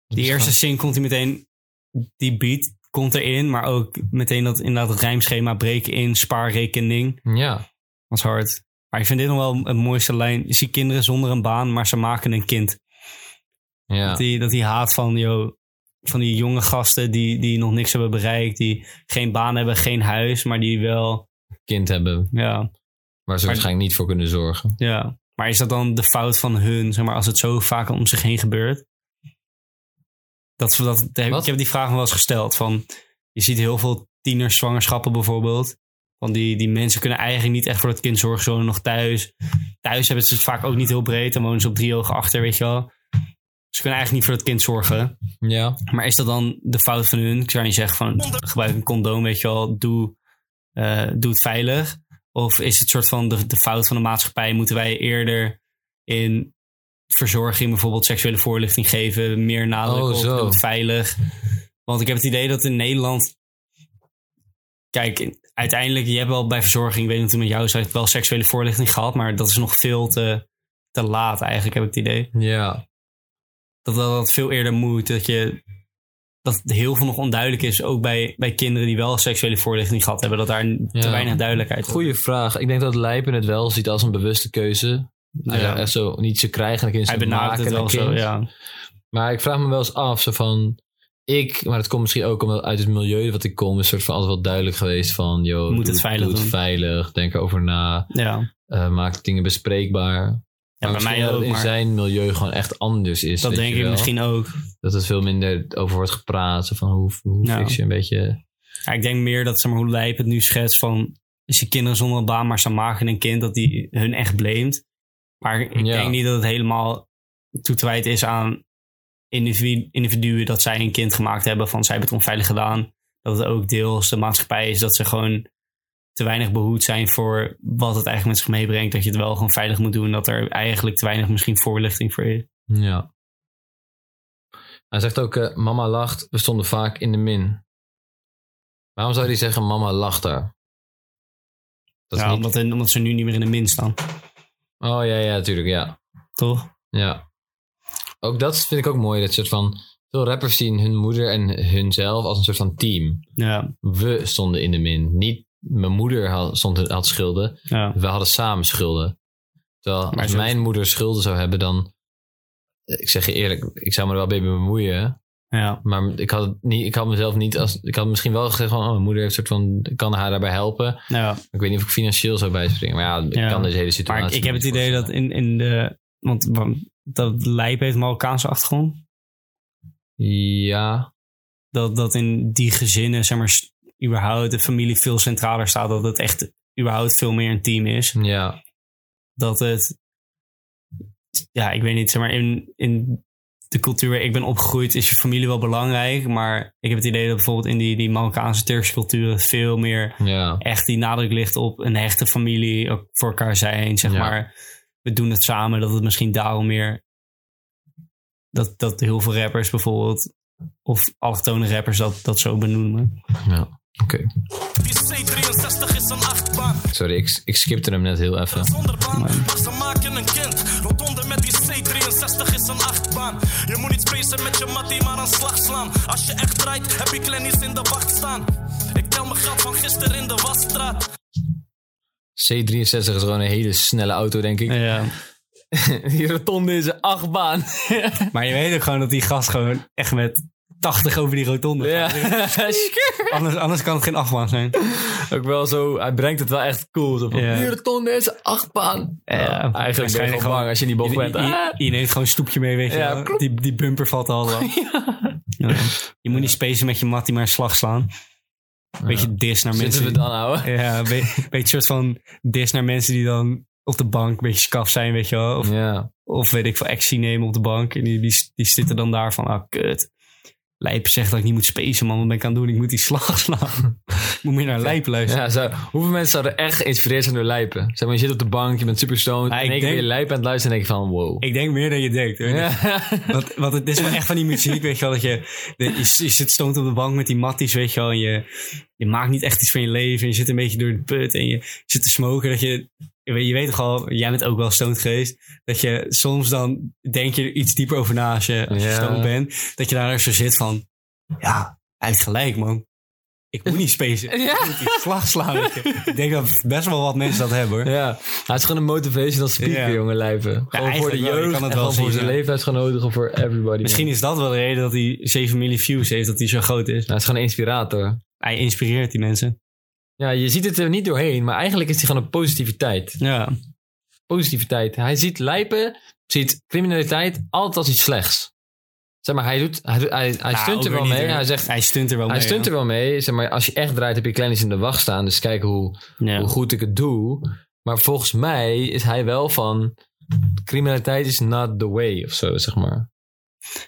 S1: die eerste zin komt hij meteen, die beat komt erin, maar ook meteen dat inderdaad rijmschema breken in, spaarrekening.
S2: Ja.
S1: Dat is hard. Maar ik vind dit nog wel het mooiste lijn. Je ziet kinderen zonder een baan, maar ze maken een kind.
S2: Ja.
S1: Dat, die, dat die haat van, yo, van die jonge gasten die, die nog niks hebben bereikt, die geen baan hebben, geen huis, maar die wel,
S2: Kind hebben.
S1: ja,
S2: Waar ze
S1: Maar-
S2: waarschijnlijk niet voor kunnen zorgen.
S1: ja. Maar is dat dan de fout van hun, zeg maar, als het zo vaak om zich heen gebeurt? Dat, ze dat, dat heb,
S2: Wat?
S1: ik heb die vraag nog wel eens gesteld. Van, je ziet heel veel tienerzwangerschappen bijvoorbeeld. Van die, die mensen kunnen eigenlijk niet echt voor dat kind zorgen. Zo nog thuis. Thuis hebben ze het vaak ook niet heel breed. Dan wonen ze op drie ogen achter, weet je wel. Ze kunnen eigenlijk niet voor dat kind zorgen.
S2: Ja.
S1: Maar is dat dan de fout van hun? Ik zou niet zeggen van gebruik een condoom, weet je wel, doe, eh, doe het veilig. Of is het soort van de, de fout van de maatschappij? Moeten wij eerder in verzorging bijvoorbeeld seksuele voorlichting geven, meer nadruk
S2: Oh,
S1: op
S2: zo.
S1: doe het veilig? Want ik heb het idee dat in Nederland, kijk, uiteindelijk, je hebt wel bij verzorging, ik weet niet hoe het met jou is, je hebt wel seksuele voorlichting gehad, maar dat is nog veel te, te laat eigenlijk, heb ik het idee
S2: Ja.
S1: dat dat, dat veel eerder moet. Dat je dat heel veel nog onduidelijk is, ook bij, bij kinderen die wel seksuele voorlichting gehad hebben, dat daar te
S2: Ja.
S1: weinig duidelijkheid is.
S2: Goeie vraag. Ik denk dat Lijpen het wel ziet als een bewuste keuze. Hij
S1: Ja.
S2: zou echt zo niet ze krijgen en kind
S1: Hij
S2: ze
S1: benadert
S2: maken en
S1: het wel
S2: een
S1: zo,
S2: kind.
S1: ja.
S2: Maar ik vraag me wel eens af, zo van... Ik, maar dat komt misschien ook omdat uit het milieu wat ik kom... is soort van altijd wel duidelijk geweest van... Yo,
S1: het
S2: doe,
S1: veilig
S2: doe het
S1: doen.
S2: veilig, denk erover na.
S1: ja.
S2: eh, maak dingen bespreekbaar.
S1: ja bij
S2: Maar misschien
S1: mij
S2: dat het
S1: ook,
S2: in
S1: maar
S2: zijn milieu gewoon echt anders is.
S1: dat
S2: weet
S1: denk
S2: je
S1: ik
S2: wel.
S1: misschien ook.
S2: Dat het veel minder over wordt gepraat. zo Van hoe, hoe
S1: Ja.
S2: fix je een beetje...
S1: Ja, ik denk meer dat, zeg maar, hoe Lijp het nu schetst van... als je kinderen zonder een baan, maar ze maken een kind... dat die hun echt blamed. Maar ik
S2: Ja.
S1: denk niet dat het helemaal toe te wijten is aan individu- individuen... dat zij een kind gemaakt hebben van zij hebben het onveilig gedaan. Dat het ook deels de maatschappij is dat ze gewoon te weinig behoed zijn... voor wat het eigenlijk met zich meebrengt. Dat je het wel gewoon veilig moet doen. Dat er eigenlijk te weinig misschien voorlichting voor is.
S2: Ja. Hij zegt ook, eh, mama lacht, we stonden vaak in de min. Waarom zou hij zeggen, mama lacht daar? Dat is
S1: Ja,
S2: niet-
S1: omdat, omdat ze nu niet meer in de min staan,
S2: Oh ja, ja, natuurlijk, ja.
S1: toch?
S2: ja. Ook dat vind ik ook mooi, dat soort van... Veel rappers zien hun moeder en hunzelf als een soort van team.
S1: Ja,
S2: We stonden in de min. Niet mijn moeder had, stond, had schulden,
S1: ja.
S2: we hadden samen schulden. Terwijl
S1: Maar
S2: als
S1: zo-
S2: mijn moeder schulden zou hebben, dan... Ik zeg je eerlijk, ik zou me er wel mee bemoeien...
S1: ja.
S2: Maar ik had, het niet, ik had mezelf niet als. Ik had misschien wel gezegd van. Oh, mijn moeder heeft een soort van. ik kan haar daarbij helpen.
S1: ja.
S2: Ik weet niet of ik financieel zou bijspringen. Maar ja, ik
S1: Ja.
S2: kan deze hele situatie.
S1: Maar ik, ik heb
S2: niet
S1: het idee dat
S2: voorstellen.
S1: in, in de. Want wa- dat Lijp heeft Marokkaanse achtergrond.
S2: Ja.
S1: Dat, dat in die gezinnen, zeg maar, s- überhaupt de familie veel centraler staat. Dat het echt überhaupt veel meer een team is.
S2: Ja.
S1: Dat het. Ja, ik weet niet, zeg maar, in, in de cultuur waar ik ben opgegroeid is je familie wel belangrijk. Maar ik heb het idee dat bijvoorbeeld in die, die Marokkaanse Turkse cultuur het veel meer
S2: Ja.
S1: echt die nadruk ligt op een hechte familie, ook voor elkaar zijn, zeg
S2: Ja.
S1: maar. We doen het samen, dat het misschien daarom meer... Dat, dat heel veel rappers bijvoorbeeld, of allochtone rappers dat, dat zo benoemen.
S2: ja. Oké.
S4: Die C63 is een achtbaan.
S2: Sorry, ik, ik skipte hem net heel even.
S4: Zonder baan, maar ze maken een kind. Rotonde met die C63 is een achtbaan. Je moet niet spacen met je mattie, maar aan slag slaan. Als je echt draait, heb ik Lenny's in de wacht staan. Ik tel mijn geld van gisteren in de wasstraat.
S2: C63 is gewoon een hele snelle auto, denk ik.
S1: Ja.
S2: [laughs] Die rotonde is een achtbaan.
S1: Maar je weet ook gewoon dat die gast gewoon echt met 80 over die rotonde gaat. [laughs]
S2: ja.
S1: Anders, anders kan het geen achtbaan zijn.
S2: [laughs] Ook wel zo. Hij brengt het wel echt cool. Zo van,
S1: Ja.
S2: Die rotonde is een achtbaan.
S1: Ja.
S2: eigenlijk ben je
S1: Waarschijnlijk
S2: gewoon bang als je in die bocht
S1: Je,
S2: bent.
S1: je, je neemt gewoon een stoepje mee, weet je
S2: Ja,
S1: wel.
S2: klopt.
S1: Die, die bumper valt al
S2: [laughs]
S1: wel. Ja. Je moet niet spacen met je mattie, maar een slag slaan. Beetje dis naar mensen.
S2: Zitten we
S1: die-
S2: dan, ouwe?
S1: Ja, een
S2: [laughs]
S1: be- beetje soort van dis naar mensen die dan op de bank een beetje skaf zijn, weet je wel. Of,
S2: Ja.
S1: of weet ik veel, actie nemen op de bank. En die, die, die zitten dan daar van, ah, kut. Lijp zegt dat ik niet moet spacen, man. Wat ben ik aan het doen? Ik moet die
S2: [laughs]
S1: slag slaan. ik moet meer naar Lijp luisteren.
S2: ja zo, hoeveel mensen zouden echt geïnspireerd zijn door lijpen? Zeg maar, je zit op de bank, je bent super stoned.
S1: Ah,
S2: en
S1: ik
S2: in één keer ben
S1: denk-
S2: je lijpen aan het luisteren en denk je van wow.
S1: Ik denk meer dan je denkt. hoor.
S2: ja.
S1: Want, want het is wel echt van die muziek, weet je wel. Dat je, de- je, je zit stoont op de bank met die matties, weet je wel. En je, je maakt niet echt iets van je leven. En je zit een beetje door de put. En je zit te smoken. Dat je, je weet, je weet toch al, jij bent ook wel stoned geweest, dat je soms dan denk je er iets dieper over na als je, als je
S2: Ja.
S1: stoned bent, dat je daar zo zit van, ja, hij heeft gelijk man. Ik moet niet
S2: [laughs]
S1: spacen.
S2: Ja.
S1: Ik moet die slag slaan. weet je. Ik denk dat best wel wat mensen dat hebben hoor.
S2: Ja, hij is gewoon een motivational speaker,
S1: Ja.
S2: jongen, lijpen. Gewoon voor
S1: eigenlijk
S2: de
S1: wel, je
S2: jeugd,
S1: kan het
S2: en
S1: wel
S2: gewoon voor
S1: zien,
S2: zijn
S1: ja.
S2: leeftijdsgenoten, gewoon voor everybody.
S1: Misschien
S2: man.
S1: is dat wel de reden dat hij 7 miljoen views heeft, dat hij zo groot is.
S2: Hij is gewoon een inspirator.
S1: Hij inspireert die mensen.
S2: Ja, je ziet het er niet doorheen, maar eigenlijk is hij gewoon een positiviteit.
S1: Ja,
S2: Positiviteit. Hij ziet lijpen, ziet criminaliteit altijd als iets slechts. Zeg maar, hij, doet, hij, doet- hij, hij
S1: Nou,
S2: stunt er
S1: ook
S2: wel
S1: weer
S2: mee.
S1: niet, hè?
S2: Hij zegt,
S1: hij stunt er wel
S2: hij
S1: mee.
S2: stunt er wel mee. Zeg maar, als je echt draait, heb je kleintjes in de wacht staan. Dus kijk hoe,
S1: ja.
S2: hoe goed ik het doe. Maar volgens mij is hij wel van... Criminaliteit is not the way of zo, zeg maar.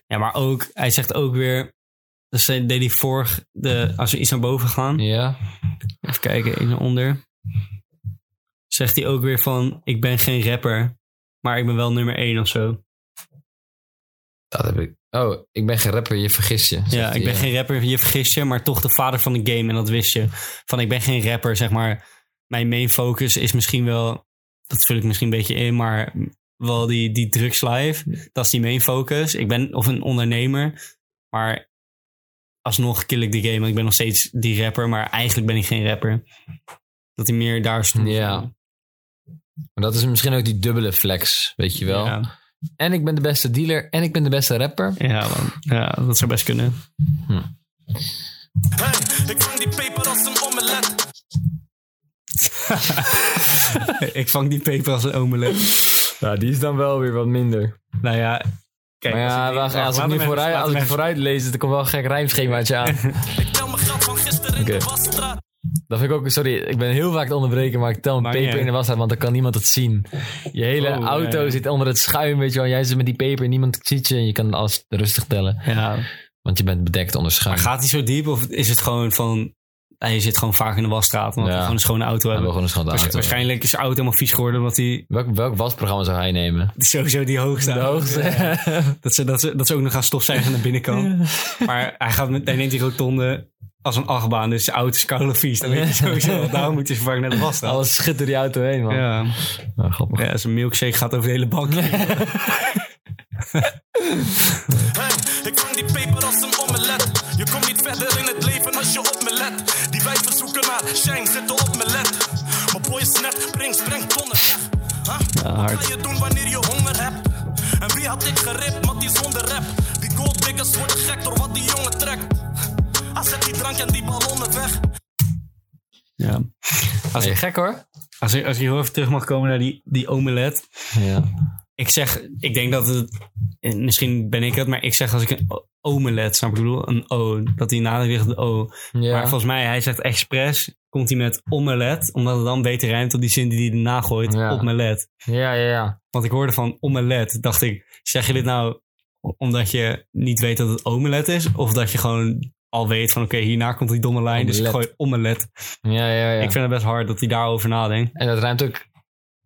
S1: Ja, maar ook, hij zegt ook weer. Dus deed hij vorig, de, als we iets naar boven gaan.
S2: Ja.
S1: Even kijken, in en onder. Zegt hij ook weer van: Ik ben geen rapper, maar ik ben wel nummer 1 of zo.
S2: Dat heb ik. Oh, ik ben geen rapper, je vergis je. zegt
S1: Ja,
S2: hij, eh,
S1: ik ben geen rapper, je vergist je, maar toch de vader van de game en dat wist je. Van: Ik ben geen rapper, zeg maar. Mijn main focus is misschien wel, dat vul ik misschien een beetje in, maar wel die, die drugslife. Dat is die main focus. Ik ben of een ondernemer, maar alsnog kill ik de game. want Ik ben nog steeds die rapper, maar eigenlijk ben ik geen rapper. Dat hij meer daar stond.
S2: Ja. Maar dat is misschien ook die dubbele flex, weet je wel.
S1: Ja,
S2: En ik ben de beste dealer en ik ben de beste rapper.
S1: ja, man. ja, dat zou best
S2: [laughs]
S1: kunnen.
S4: Hey, ik vang die peper als een omelet.
S1: ik vang die peper als een omelet.
S2: Ja, die is dan wel weer wat minder.
S1: nou ja, kijk.
S2: Maar ja,
S1: ik die-
S2: wacht, als ik
S1: laat
S2: nu
S1: hem even-
S2: vooruit,
S1: laat
S2: als ik
S1: hem
S2: vooruit lees, dan komt wel een gek rijmschemaatje aan.
S1: [laughs]
S4: Ik tel mijn geld van gisteren in
S2: Oké.
S4: de wasstraat.
S2: Dat vind ik ook, sorry, ik ben heel vaak te onderbreken, maar ik tel een
S1: Maakt niet
S2: peper in de
S1: uit.
S2: wasstraat, want dan kan niemand het zien. Je hele
S1: Oh,
S2: auto
S1: ja, ja.
S2: zit onder het schuim, weet je wel. Jij zit met die peper, niemand ziet je en je kan alles rustig tellen.
S1: even- Ja.
S2: Want je bent bedekt onder schuim.
S1: Maar gaat hij zo diep of is het gewoon van... Hij zit gewoon vaak in de wasstraat omdat
S2: Ja.
S1: we gewoon een schone auto
S2: Ja, we
S1: hebben.
S2: gewoon een schande
S1: Waarsch-
S2: auto.
S1: Waarschijnlijk is zijn auto helemaal vies geworden omdat hij
S2: Welk, welk wasprogramma zou hij nemen?
S1: sowieso die hoogste
S2: De
S1: auto-
S2: hoogste. [laughs]
S1: Dat ze, dat, ze, dat ze ook nog gaan stofzuigen aan de binnenkant. Maar hij, gaat met, hij neemt die rotonde als een achtbaan. Dus zijn auto is koude vies. Dan weet je sowieso. Daarom moet je ze vaak naar de wasstraat.
S2: Alles schiet door die auto heen, man.
S1: Ja.
S2: Ah, grappig.
S1: ja, zijn milkshake gaat over de hele
S2: [laughs]
S1: bank.
S4: Hey, ik vang die peper als een omelet. Je komt niet verder in het leven als je op me let. Die wijven zoeken naar shine, zitten op me let. Mijn boy is net, breng, breng tonnen. Huh? Wat
S1: hard.
S4: ga je doen wanneer je honger hebt? En wie had ik geript, maar die zonder rap? Die gold diggers worden gek door wat die jongen trekt. Hij zet die drank en die ballonnen weg.
S1: Ja. Als,
S2: Hey,
S1: ik,
S2: gek hoor.
S1: als, ik, als ik heel even terug mag komen naar die, die omelet.
S2: Ja.
S1: Ik zeg, ik denk dat het... eh, Misschien ben ik het, maar ik zeg als ik een o- omelet, snap ik wat ik bedoel? Een O, dat die nadruk ligt op de O.
S2: Ja.
S1: Maar volgens mij, hij zegt expres, komt hij met omelet. Omdat het dan beter rijmt op die zin die hij erna gooit,
S2: Ja.
S1: op melet.
S2: ja, ja, ja.
S1: Want ik hoorde van omelet, dacht ik, zeg je dit nou omdat je niet weet dat het omelet is? Of dat je gewoon al weet van oké, hierna komt die domme lijn, dus ik
S2: Omelet.
S1: gooi omelet.
S2: Ja, ja, ja.
S1: Ik vind het best hard dat hij daarover nadenkt.
S2: En dat ruimt ook...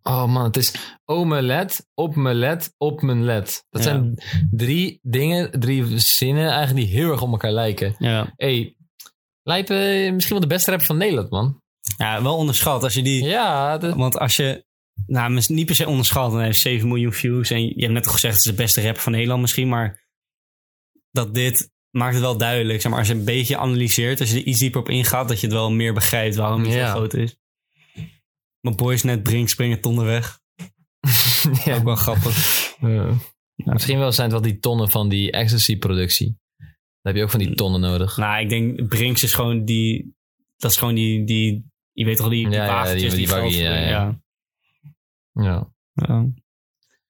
S2: Oh man, het is omelet, op mijn led, op mijn led. Dat
S1: Ja.
S2: zijn drie dingen, drie zinnen eigenlijk die heel erg op elkaar lijken.
S1: Ja.
S2: hey, Lijpen, misschien wel de beste rapper van Nederland, man.
S1: ja, wel onderschat. Als je die,
S2: Ja,
S1: [laughs]
S2: dat-
S1: Want als je, nou mis- niet per se onderschat, dan heeft 7 miljoen views. En je hebt net al gezegd, het is de beste rapper van Nederland misschien. Maar dat dit maakt het wel duidelijk. Zeg maar, als je een beetje analyseert, als je er iets dieper op ingaat, dat je het wel meer begrijpt waarom het
S2: Ja.
S1: zo groot is. Mijn boys net brink springen tonnen weg.
S2: ja.
S1: Ook wel grappig.
S2: [laughs] Ja. Misschien wel zijn het wel die tonnen van die ecstasy-productie. Dan heb je ook van die tonnen nodig.
S1: nou, ik denk Brinks is gewoon die, dat is gewoon die, die je weet toch, die, die
S2: Ja, ja,
S1: wagentjes
S2: die-
S1: die,
S2: die
S1: geld
S2: buggy, ja,
S1: verdienen.
S2: ja. Ja.
S1: Ja.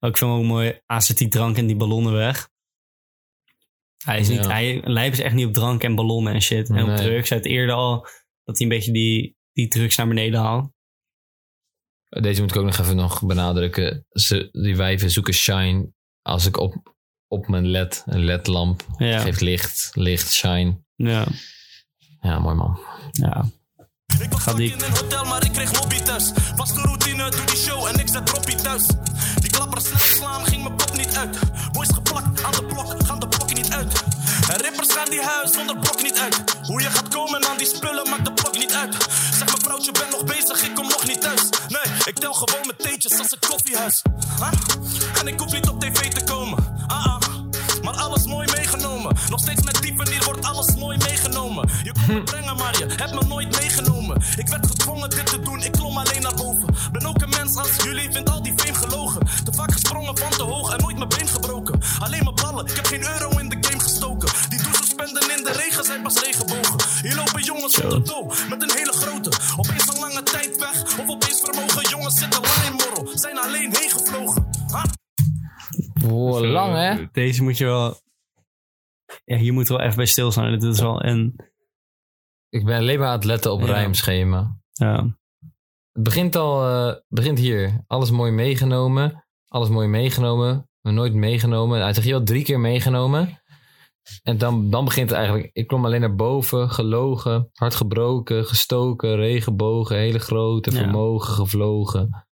S1: Ook vind hem ook mooi. A zet die drank en die ballonnen weg. Hij is niet,
S2: Ja.
S1: hij lijp is echt niet op drank en ballonnen en shit. En op
S2: Nee.
S1: drugs. Hij had eerder al dat hij een beetje die, die drugs naar beneden haalt.
S2: Deze moet ik ook nog even nog benadrukken. Ze, die wijven zoeken shine als ik op, op mijn led, een ledlamp,
S1: Ja.
S2: geeft licht, licht, shine.
S1: Ja.
S2: Ja, mooi man.
S1: ja.
S4: Ik was
S1: Gaat
S4: ook
S1: die-
S4: in een hotel, maar ik kreeg lobby thuis. Was de routine, doe die show en ik zet droppie thuis. Die klapper snel slaan, ging mijn pop niet uit. Boys geplakt aan de blok, gaan de blok niet uit. En rippers gaan die huis zonder blok niet uit. Hoe je gaat komen aan die spullen maakt de blok niet uit. Zeg mijn vrouwtje, ben nog bezig, ik kom nog niet thuis. Nee, ik tel gewoon mijn eentjes als een koffiehuis. Huh? En ik hoef niet op tv te komen. Ah ah. Maar alles mooi meegenomen. Nog steeds met die manier wordt alles mooi meegenomen. Je kon me brengen, maar je hebt me nooit meegenomen. Ik werd gedwongen dit te doen, ik klom alleen naar boven. Ben ook een mens als jullie, vind al die fame gelogen. Te vaak gesprongen van te hoog en nooit mijn been gebroken. Alleen mijn ballen, ik heb geen euro in de game gestoken. Die douches spenden in de regen zijn pas regenbogen. Hier lopen jongens zonder doel, met een hele grote. Opeens een lange tijd weg, of opeens vermogen. Jongens zitten lang in morrel, zijn alleen heen gevlogen. Huh?
S2: Wow,
S1: Zo,
S2: lang hè?
S1: Deze moet je wel... Ja, hier moet je wel even bij stilstaan. Dit is wel een...
S2: Ik ben alleen maar aan het letten op
S1: Ja.
S2: rijmschema.
S1: Ja,
S2: Het begint al, eh, begint hier. Alles mooi meegenomen. Alles mooi meegenomen. Maar nooit meegenomen. Hij zegt hier wel drie keer meegenomen. En dan, dan begint het eigenlijk. Ik klom alleen naar boven, gelogen, hard gebroken, gestoken, regenbogen, hele grote,
S1: Ja.
S2: vermogen, gevlogen.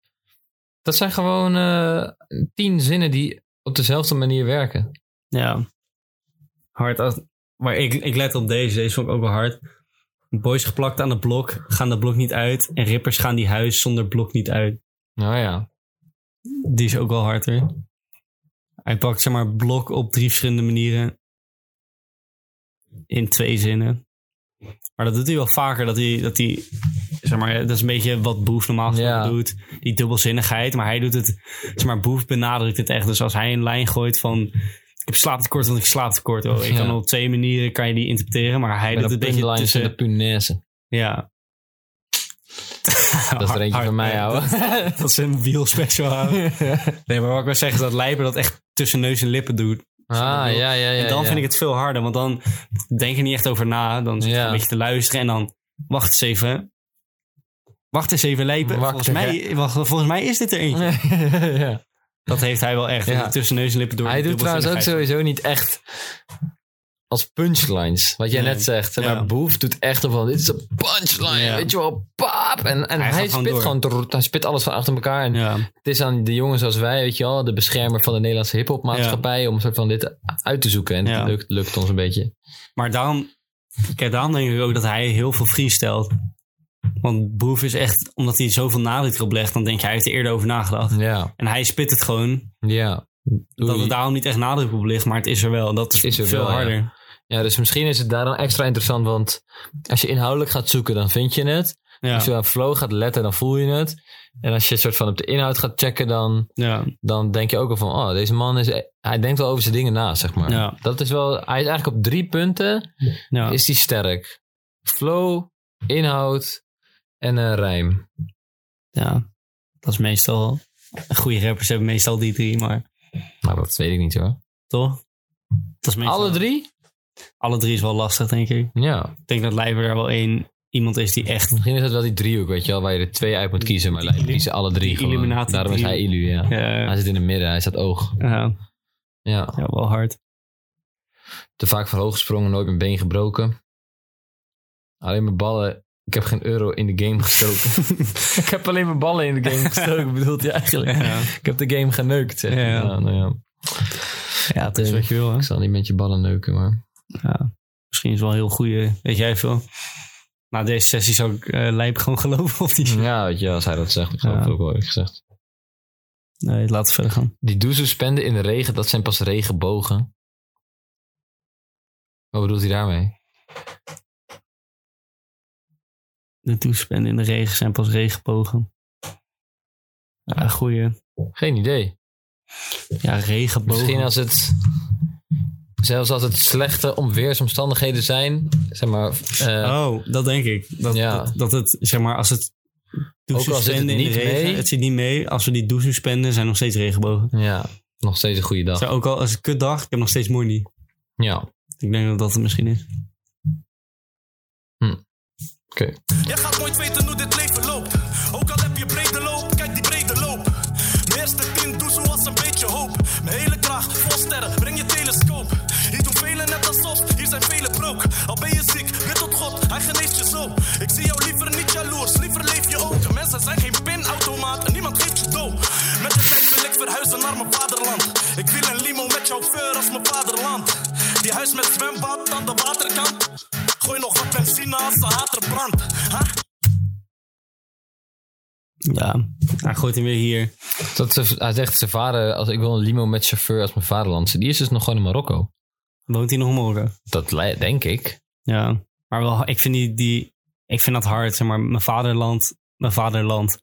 S2: Dat zijn gewoon eh, tien zinnen die op dezelfde manier werken.
S1: ja. Hard als... Maar ik, ik let op deze. Deze vond ik ook wel hard. Boys geplakt aan de blok, gaan de blok niet uit. En rippers gaan die huis zonder blok niet uit.
S2: Nou ja,
S1: Die is ook wel harder. Hij pakt zeg maar blok op drie verschillende manieren. In twee zinnen. Maar dat doet hij wel vaker. Dat hij, dat hij zeg maar, dat is een beetje wat Boef normaal gesproken
S2: Ja.
S1: doet. Die dubbelzinnigheid. Maar hij doet het, zeg maar, Boef benadrukt het echt. Dus als hij een lijn gooit van, ik heb slaaptekort, want ik slaap tekort. Oh, ik
S2: Ja.
S1: kan op twee manieren, kan je die interpreteren. Maar hij
S2: met
S1: doet
S2: de
S1: het een beetje
S2: punchlines en de
S1: tussen,
S2: punaise.
S1: [laughs] ja.
S2: Dat is er eentje van mij, ouwe.
S1: Dat is een wielspecial, ouwe. Nee, maar wat ik wil zeggen is dat Lijper dat echt tussen neus en lippen doet.
S2: [laughs] Ah, ja, ja, ja.
S1: En dan
S2: ja.
S1: vind ik het veel harder, want dan denk je niet echt over na. Dan zit je
S2: Ja.
S1: een beetje te luisteren en dan wacht eens even. Wacht eens even, Lijpen.
S2: Wacht
S1: Volgens
S2: even.
S1: mij, wacht, volgens mij is dit er
S2: [laughs]
S1: eentje.
S2: ja.
S1: Dat heeft hij wel echt.
S2: Ja.
S1: dat hij Tussen neus en lippen door.
S2: Hij
S1: die
S2: doet trouwens ook
S1: dubbelzinnigheid.
S2: sowieso niet echt als punchlines. Wat jij
S1: Nee.
S2: net zegt. Zeg Maar
S1: Ja.
S2: Boef doet echt al van, dit is een punchline.
S1: Ja.
S2: Weet je wel, paap. En, en
S1: Hij
S2: hij,
S1: gaat gewoon
S2: spit
S1: door.
S2: gewoon, drrrt, hij spit alles van achter elkaar. En
S1: Ja,
S2: het is aan de jongens als wij, weet je wel, de beschermer van de Nederlandse hip maatschappij, om een soort van dit uit te zoeken. En
S1: Ja.
S2: het lukt, lukt ons een beetje.
S1: maar daarom, kijk, daarom denk ik ook dat hij heel veel freestelt. Want Boef is echt, omdat hij zoveel nadruk erop legt, dan denk je, hij heeft er eerder over nagedacht.
S2: Ja,
S1: En hij spit het gewoon.
S2: ja.
S1: Dat
S2: Oei.
S1: het daarom niet echt nadruk op ligt, maar het is er wel. En Dat is,
S2: Is er
S1: veel
S2: wel, ja.
S1: harder.
S2: Ja, dus misschien is het daarom extra interessant, want als je inhoudelijk gaat zoeken, dan vind je het.
S1: Ja.
S2: Als je aan flow gaat letten, dan voel je het. En als je soort van op de inhoud gaat checken, dan,
S1: Ja.
S2: dan denk je ook al van, oh, deze man is, hij denkt wel over zijn dingen na, zeg maar.
S1: Ja.
S2: Dat is wel, hij is eigenlijk op drie punten,
S1: Ja.
S2: is hij sterk. Flow, inhoud en een rijm.
S1: ja, dat is meestal. Goede rappers hebben meestal die drie, maar
S2: Maar Nou, dat weet ik niet hoor.
S1: toch? Dat is meestal,
S2: Alle drie?
S1: alle drie is wel lastig, denk ik.
S2: Ja.
S1: Ik denk dat Leiber er wel één iemand is die echt. eh,
S2: Misschien is dat wel die driehoek, weet je wel, waar je er twee uit moet kiezen. Maar lijkt kiezen alle drie
S1: die
S2: gewoon.
S1: Illuminati
S2: Daarom is hij Illu, ja.
S1: eh,
S2: Hij zit in het midden, hij staat oog.
S1: ja,
S2: Ja.
S1: eh, ja, wel hard.
S2: Te vaak van hoog gesprongen, nooit mijn been gebroken. Alleen mijn ballen. Ik heb geen euro in de game
S1: [laughs]
S2: gestoken. ik heb alleen mijn ballen in de game gestoken, bedoelt hij eigenlijk.
S1: Ja.
S2: Ik heb de game geneukt. Zeg.
S1: Ja.
S2: Ja, nou ja.
S1: Ja, het is wat je wil, hè?
S2: Ik zal niet met je ballen neuken, maar...
S1: Misschien is het wel een heel goede. Weet jij veel? Na deze sessie zou ik eh Lijp gewoon [laughs] geloven of die.
S2: Ja, weet je, als hij dat zegt, ik geloof
S1: Ja.
S2: het ook wel eerlijk gezegd.
S1: Nee, laten we verder gaan.
S2: Die doezoe spenden in de regen, dat zijn pas regenbogen. Wat bedoelt hij daarmee?
S1: De toespenden in de regen zijn pas regenbogen. Ja, goeie.
S2: Geen idee.
S1: Ja, regenbogen.
S2: Misschien als het... Zelfs als het slechte om- weersomstandigheden zijn, zeg maar... eh,
S1: Oh, dat denk ik. Dat,
S2: Ja.
S1: dat, dat het, zeg maar, als het
S2: Ook al zit het
S1: spenden in
S2: niet
S1: de regen,
S2: mee.
S1: het zit niet mee. Als we die douche spenden, zijn nog steeds regenbogen.
S2: Ja, nog steeds een goede dag.
S1: Zo, ook al als het kutdag, ik heb nog steeds Mooney.
S2: Ja.
S1: Ik denk dat dat het misschien is.
S4: Jij gaat nooit weten hoe dit leven loopt. Ook al heb je brede loop, kijk die brede loop. Mijn eerste tien doe zoals een beetje hoop. Mijn hele kracht, vol sterren, breng je telescoop. Hier doen velen net alsof, hier zijn velen broek. Al ben je ziek, bid tot God, hij geneest je zo. Ik zie jou liever niet jaloers, liever leef je ook. Mensen zijn geen pinautomaat, niemand geeft je dood. Met de tijd wil ik verhuizen naar mijn vaderland. Ik wil een limo met chauffeur als mijn vaderland. Die huis met zwembad aan de waterkant. Gooi nog wat benzine als de hater brandt. Ha?
S1: Ja, hij gooit hem weer hier.
S2: Dat ze, hij zegt zijn vader, als ik wil een limo met chauffeur als mijn vaderland. Die is dus nog gewoon in Marokko.
S1: Woont hij nog in Marokko?
S2: Dat li- denk ik.
S1: Ja, maar wel, ik vind, die, die, ik vind dat hard. Zeg maar, mijn vaderland, mijn vaderland.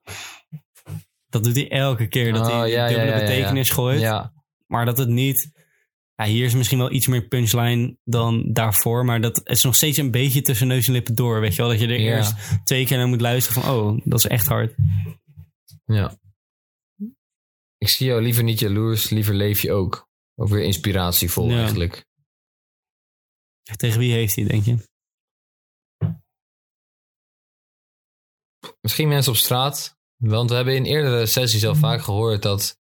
S1: Dat doet hij elke keer. Dat
S2: Oh,
S1: hij
S2: ja, ja,
S1: dubbele
S2: ja, ja, ja.
S1: betekenis gooit.
S2: Ja,
S1: Maar dat het niet... Ja, hier is misschien wel iets meer punchline dan daarvoor. Maar dat is nog steeds een beetje tussen neus en lippen door. Weet je wel, dat je er
S2: Ja.
S1: eerst twee keer naar moet luisteren van... Oh, dat is echt hard.
S2: ja. Ik zie jou liever niet jaloers, liever leef je ook. Ook weer inspiratievol
S1: Ja.
S2: eigenlijk.
S1: Tegen wie heeft hij, denk je?
S2: Misschien mensen op straat. Want we hebben in eerdere sessies
S1: Mhm.
S2: al vaak gehoord dat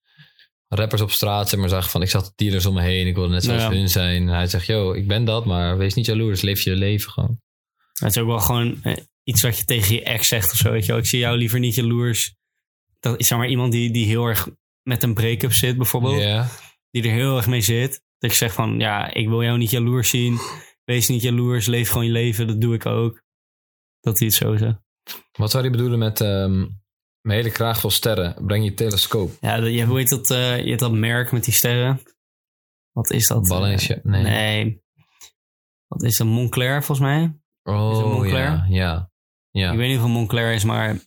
S2: rappers op straat zeg maar zeggen van... ik zag de dealers om me heen, ik wilde net zoals
S1: Ja.
S2: hun zijn. En hij zegt, yo, ik ben dat, maar wees niet jaloers. Leef je leven gewoon.
S1: Het is ook wel gewoon eh, iets wat je tegen je ex zegt of zo. Weet je wel. Ik zie jou liever niet jaloers. Dat is zeg maar iemand die, die heel erg met een break-up zit bijvoorbeeld.
S2: Ja.
S1: Die er heel erg mee zit. Dat ik zeg van, ja, ik wil jou niet jaloers zien. Wees niet jaloers, leef gewoon je leven. Dat doe ik ook. Dat hij het zo zegt.
S2: Wat zou hij bedoelen met... ehm, mijn hele kraag vol sterren, breng je telescoop.
S1: Ja, dat- je, hoe heet dat, eh, je hebt dat merk met die sterren. Wat is dat?
S2: Ballensje. Nee.
S1: Eh, nee. Wat is dat? Moncler volgens mij? Is het
S2: Oh,
S1: Moncler?
S2: ja. Ja. ja.
S1: Ik weet niet of het Moncler is, maar...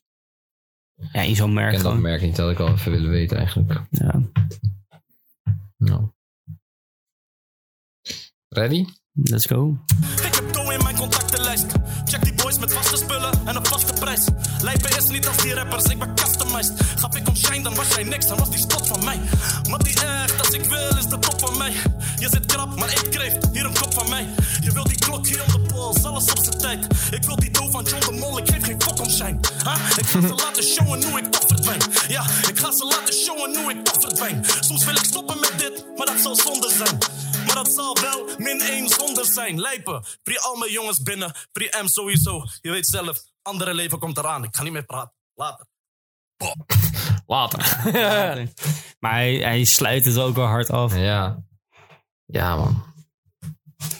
S1: Ja, in zo'n merk
S2: Ik ken dat
S1: gewoon.
S2: merk niet, dat had ik al even willen weten eigenlijk.
S1: Ja.
S2: Nou. Ready?
S1: Let's go.
S4: Ik heb dough in mijn contactenlijst. Check die boys met vaste spullen en een vaste prijs. Lijpen is niet als die rappers, ik ben customized. Gaf ik om shine, dan was jij niks, dan was die stot van mij. Maar die echt, als ik wil, is de pop van mij. Je zit krap, maar ik kreeg hier een kop van mij. Je wil die klok hier om de pols, alles op zijn tijd. Ik wil die dough van John de Mol, ik geef geen fok om shine. Ha? Ik ga ze laten showen hoe ik toch verdwijn. Ja, ik ga ze laten showen hoe ik toch verdwijn. Soms wil ik stoppen met dit, maar dat zal zonde zijn. Maar dat zal wel min 1 zonder zijn. Lijpen. Pri al mijn jongens binnen. Pri M sowieso. Je weet zelf, andere leven komt eraan. Ik ga niet meer praten. Later.
S2: Later.
S1: maar hij, hij sluit het ook wel hard af.
S2: Ja. Ja, man.